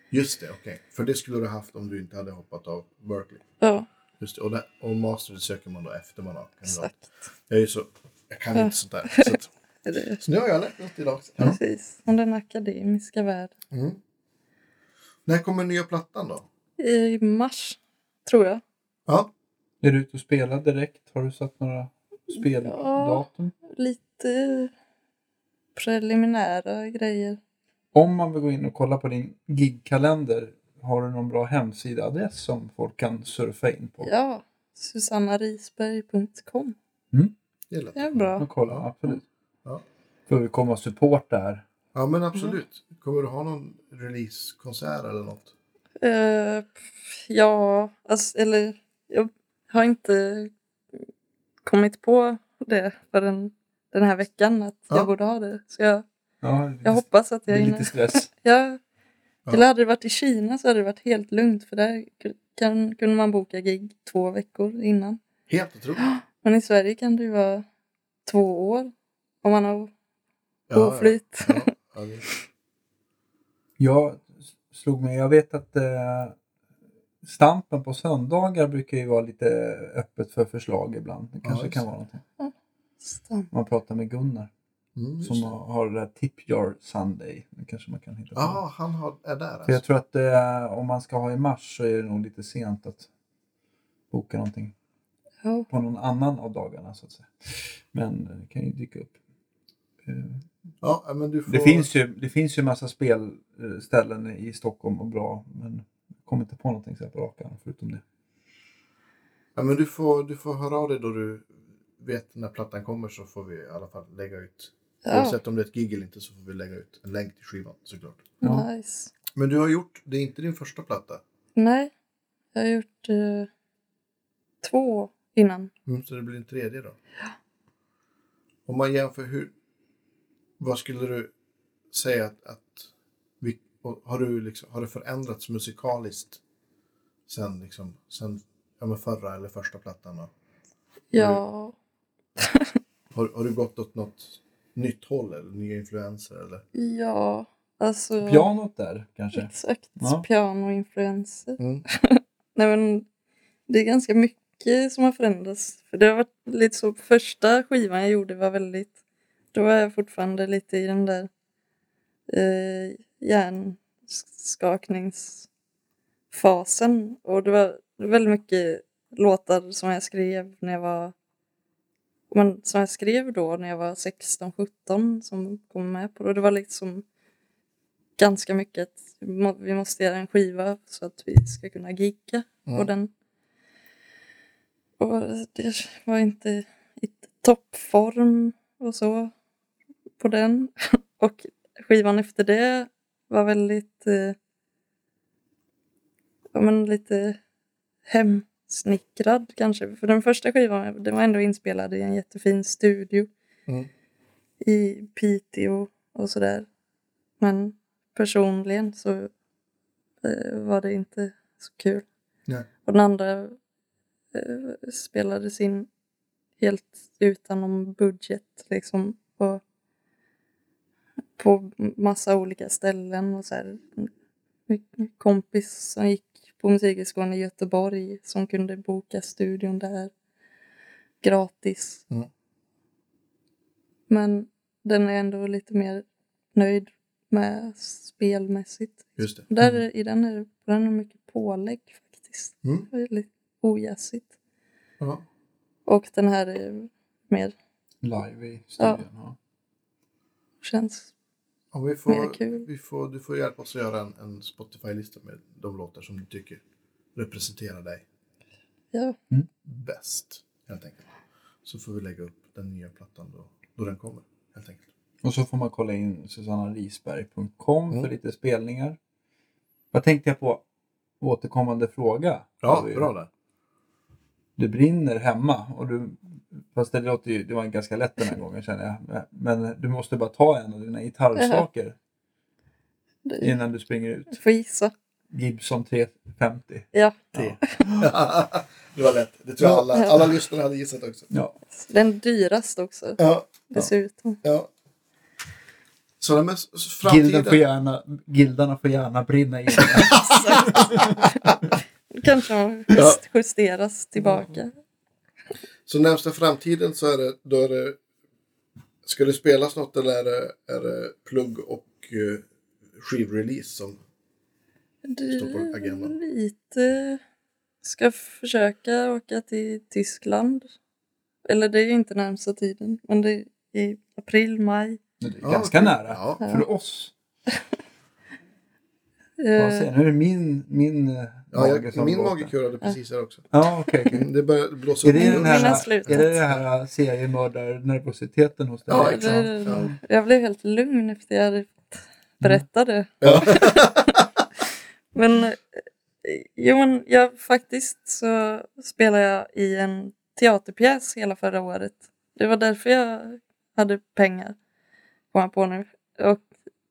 Just det, okej. För det skulle du ha haft om du inte hade hoppat av Berkeley.
Ja,
Just det, och, där, och master söker man då efter man har kandidat.
exakt.
Jag är ju så... Jag kan
Ja.
inte sånt där. Så, att,
Det är det.
så nu har jag lärt något idag också. Ja.
Precis, om den akademiska världen.
Mm. När kommer nya plattan då?
I mars, tror jag.
Ja,
Är du ute och spelar direkt? Har du satt några speldatum?
Lite preliminära grejer.
Om man vill gå in och kolla på din gigkalender, har du någon bra hemsidaadress som folk kan surfa in på?
Ja, susannarisberg.com.
det är lätt.
Det är bra.
Och kolla, absolut.
Ja.
Får vi komma och supporta här.
Ja, men absolut. Kommer du ha någon releasekonsert eller något?
Eh, pff, ja, alltså, eller jag har inte kommit på det förrän den här veckan att
Ja.
jag borde ha det. Så jag,
Ja, det
jag
är lite-
hoppas att
det
jag
är
hinner.
lite stress.
Ja.
Ja.
Eller hade det varit i Kina så hade det varit helt lugnt för där kan, kunde man boka gig två veckor innan.
Helt otroligt.
Men i Sverige kan det ju vara två år om man har
Ja,
oflyt.
Ja, ja, ja, det-
Jag slog mig, jag vet att eh, Stampen på söndagar brukar ju vara lite öppet för förslag ibland. Det kanske
just
kan
det.
vara någonting.
Stan.
Man pratar med Gunnar.
Mm, just
som
det.
har, har det där Tip Jar Sunday. Det kanske man kan hitta på.
Ja, han har, är där
För jag
alltså.
tror att det är, om man ska ha i mars så är det nog lite sent att boka någonting
Ja.
på någon annan av dagarna så att säga. Men det kan ju dyka upp. Eh,
Ja, men du får...
Det finns ju, det finns ju massa spelställen i Stockholm och bra men jag kommer inte på någonting så här på rak arm förutom det.
Ja, men du, får, du får höra av dig då du vet när plattan kommer så får vi i alla fall lägga ut.
Ja.
Oavsett om det är ett gig eller inte så får vi lägga ut en länk till skivan såklart.
Ja.
Nice.
Men du har gjort, det är inte din första platta.
Nej, jag har gjort eh, två innan.
Mm, så det blir en tredje då? Om man jämför hur... Vad skulle du säga att... att vi, och har, du liksom, har det förändrats musikaliskt sen, liksom, sen ja, men förra eller första plattan? Då?
Ja,
Har, har du gått åt något nytt håll eller nya influenser? Eller?
ja, alltså.
Pianot där kanske?
Exakt,
Ja.
pianoinfluenser.
Mm.
Nej men det är ganska mycket som har förändrats. För det har varit lite så, första skivan jag gjorde var väldigt, då var jag fortfarande lite i den där eh, hjärnskakningsfasen. Och det var väldigt mycket låtar som jag skrev när jag var men som jag skrev då när jag var 16-17 som kom med på det. Det var liksom ganska mycket att vi må- vi måste göra en skiva så att vi ska kunna gigga på
Mm.
den. Och det var inte i toppform och så på den. Och skivan efter det var väldigt eh, ja, men lite hemsnickrad kanske. För den första skivan den var ändå inspelad i en jättefin studio
Mm.
i Piteå och sådär. Men personligen så eh, var det inte så kul.
Nej.
Och den andra eh, spelades in helt utan någon budget liksom. Och på massa olika ställen och så här. Min kompis som gick på Musikhögskolan i Göteborg som kunde boka studion där gratis.
Mm.
Men den är ändå lite mer nöjd med spelmässigt.
Just det.
Där, är- I den är det på den är mycket pålägg faktiskt.
Mm.
Väldigt ojäsigt.
Ja.
Och den här är mer,
Live i studion. Ja.
känns
Om vi
Mer
får,
kul.
vi får, du får hjälpa oss att göra en, en Spotify-lista med de låtar som du tycker representerar dig.
ja,
bäst, helt enkelt. Så får vi lägga upp den nya plattan då, då den kommer, helt enkelt.
Och så får man kolla in susannalisberg.com
Mm.
för lite spelningar. Vad tänkte jag på? Återkommande fråga.
Ja,
Det var ju-
bra där.
du brinner hemma. Och du, fast det, låter ju, det var ganska lätt den här gången känner jag. Men du måste bara ta en av dina gitarrsaker
det,
innan du springer ut.
du får gissa.
Gibson 350.
Ja,
Ja.
det var lätt. Det tror jag alla, alla lyssnare hade gissat också.
Ja.
den dyraste också
Ja,
dessutom.
ja. Så den mest
Gilden får
framtida...
gärna, gildarna får gärna brinna in.
Kanske de just justeras tillbaka.
Så närmsta framtiden så är det, då är det... Ska det spelas något eller är det, är det plugg och eh, skivrelease som... Står på agendan.
Lite ska försöka åka till Tyskland. Eller det är ju inte närmsta tiden, men det är i april, maj.
Men det är
Ja,
ganska
okej.
nära
Ja.
för oss. Vad
Eh,
säger jag? Nu är det min, min eh,
Ja,
mage Mm.
jag,
som
min
låter.
mage kurade precis här också.
Ja, okej. okej.
Det börjar blåsa
Är
upp.
det den
Mina
här,
slutat.
är det den här seriemördarnervositeten hos dig? Liksom?
Ja,
det-
exakt. Ja.
Jag blev helt lugn efter jag hade berättat det.
Ja.
Men, eh, jo, men jag, faktiskt så spelade jag i en teaterpjäs hela förra året. Det var därför jag hade pengar, kom jag på nu. Och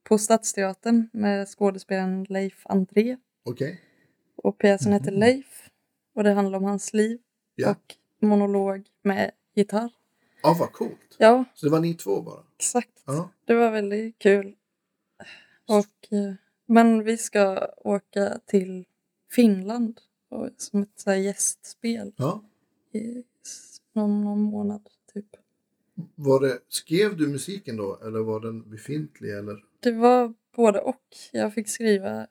på Stadsteatern med skådespelaren Leif André.
Okej.
Och pjäsen heter
Mhm.
Leif och det handlar om hans liv.
Ja.
Och monolog med gitarr.
Ja, vad coolt.
Ja,
Så det var ni två bara?
exakt.
Ja.
Det var väldigt kul. Och, eh, men vi ska åka till Finland och, som ett så här gästspel
ja.
i s- någon, någon månad typ.
Var det, skrev du musiken då eller var den befintlig? Eller?
Det var både och. Jag fick skriva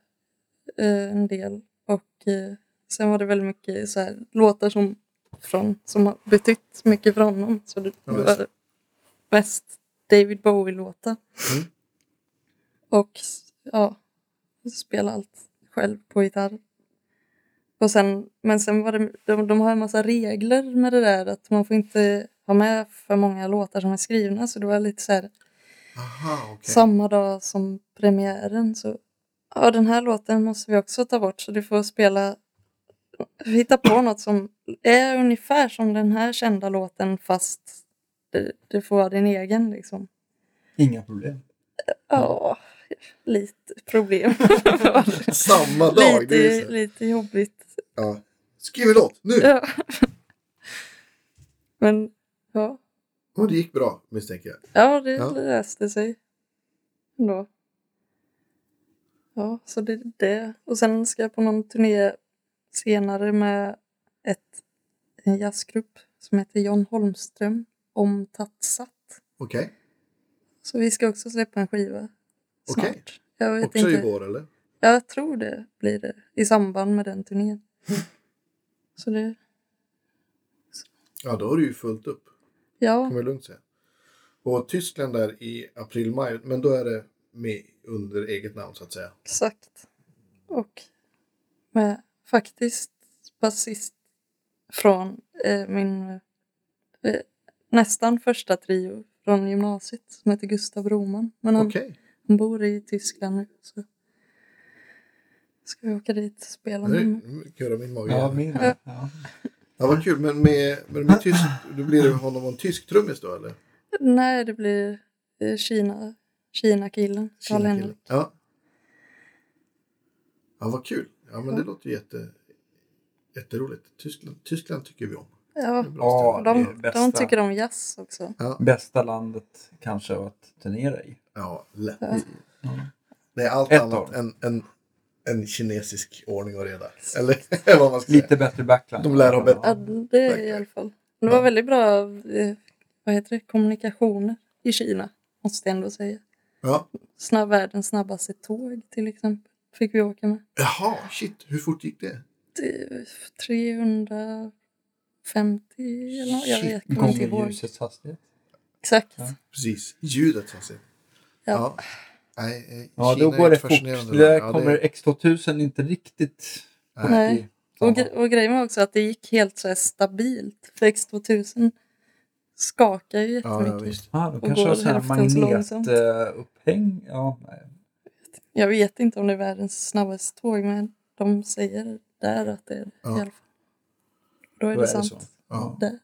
eh, en del och eh, sen var det väldigt mycket så här, låtar som, från, som har betytt mycket för honom. Så det
Ja, just
var mest David Bowie-låtar.
Mm.
Och ja, spela allt själv på gitarr. Och sen, men sen var det, de, de har en massa regler med det där att man får inte ha med för många låtar som är skrivna så det var lite så här
Aha, okej.
samma dag som premiären så ja, den här låten måste vi också ta bort så du får spela hitta på något som är ungefär som den här kända låten fast du, du får vara din egen liksom.
Inga problem.
Ja, lite problem.
Samma dag? det är
lite,
så. här.
lite jobbigt.
Ja. Skriv en låt nu!
Ja. Men ja,
Och det gick bra misstänker jag.
ja det
Ja.
löste sig ändå. Ja, så det är det. Och sen ska jag på någon turné senare med ett, en jazzgrupp som heter John Holmström om Tatsat.
Okej,
Så vi ska också släppa en skiva snart.
Okej.
Jag vet
också
inte.
i vår eller?
Jag tror det blir det i samband med den turnén.
Mm.
Så det,
Ja, då har du ju fullt upp.
ja.
kan man lugnt säga. Och Tyskland där i april-maj, men då är det med under eget namn så att säga.
Exakt. Och med faktiskt basist från eh, min eh, nästan första trio från gymnasiet som heter Gustav Broman. Men han,
Okej,
han bor i Tyskland nu så ska vi åka dit och spela med
nu
honom.
kurrar min mage.
Ja,
Ja,
min med. ja.
ja, vad kul, men med, men med tysk, då blir det med honom och en tysk trummis då eller?
Nej, det blir eh, Kina, Kina-killen. Karl
Kina-killen.
Henrik.
Ja. ja, vad kul. Ja, men det låter ju jätte, jätteroligt. Tyskland, Tyskland tycker vi om.
Ja,
Det är bra
Ja, det
ställe.
är
de, de
bästa.
tycker om jazz också.
Bästa landet kanske att turnera i.
Ja, lätt.
Ja.
Det är allt
Ett
annat
år.
än, än, än kinesisk ordning och reda. Eller vad man ska säga.
Lite bättre backline.
De lär ha bättre-
Ja,
Ja.
det är i alla fall. Det var väldigt bra eh, vad heter det, kommunikationer i Kina, måste jag ändå säga.
Ja.
Snabb, världens snabbaste tåg till exempel fick vi åka med.
Jaha, shit, hur fort gick det?
Det- 350 eller något, jag vet kommer inte
Gånger
ihåg.
ljusets hastighet.
Exakt.
Ja.
Precis, ljudet alltså.
Ja.
Nej, eh,
Ja,
Kina
då
är
går
ett
det fort.
fascinerande
Det där
land. Ja,
kommer X2000 inte riktigt
Nej.
Nej.
i
Och,
samma-
gre- och grejen var också att det gick helt så här stabilt. För X2000 skakar ju
Ja, ja,
jättemycket.
visst.
Ah, de
och
kanske
går
har sådana
hälften så långsamt.
magnetupphäng. Ja, nej.
jag vet inte om det är världens snabbaste tåg men de säger där att det är det
Ja.
i alla fall. Då är
Då är
det
det
sant.
så.
Ja.
Där.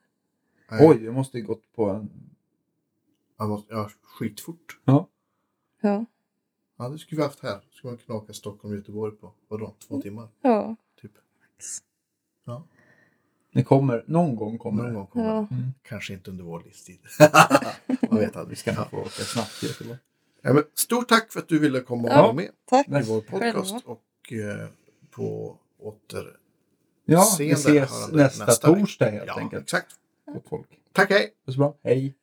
Nej,
Oj, vi måste ju gått på en...
Man måste, ja, skitfort.
Ja.
Ja,
Ja, det skulle vi haft här. Skulle man knaka Stockholm och Göteborg på, vadå,
Mm.
två timmar?
ja,
Typ.
Det kommer, någon gång kommer
Någon
det.
gång kommer
ja.
det. Kanske inte under vår livstid. man vet
Vi
aldrig.
ska inte
Ja.
få åka snabbt i Göteborg.
Ja, men, stort tack för att du ville komma och
Ja.
vara med
Tack.
i vår podcast
Själva.
och eh, på åter...
Ja, vi
Seende
ses
hörande
nästa,
nästa vecka.
torsdag helt
Ja,
enkelt.
exakt.
Gott folk.
Tack, hej!
Puss och bra. Hej.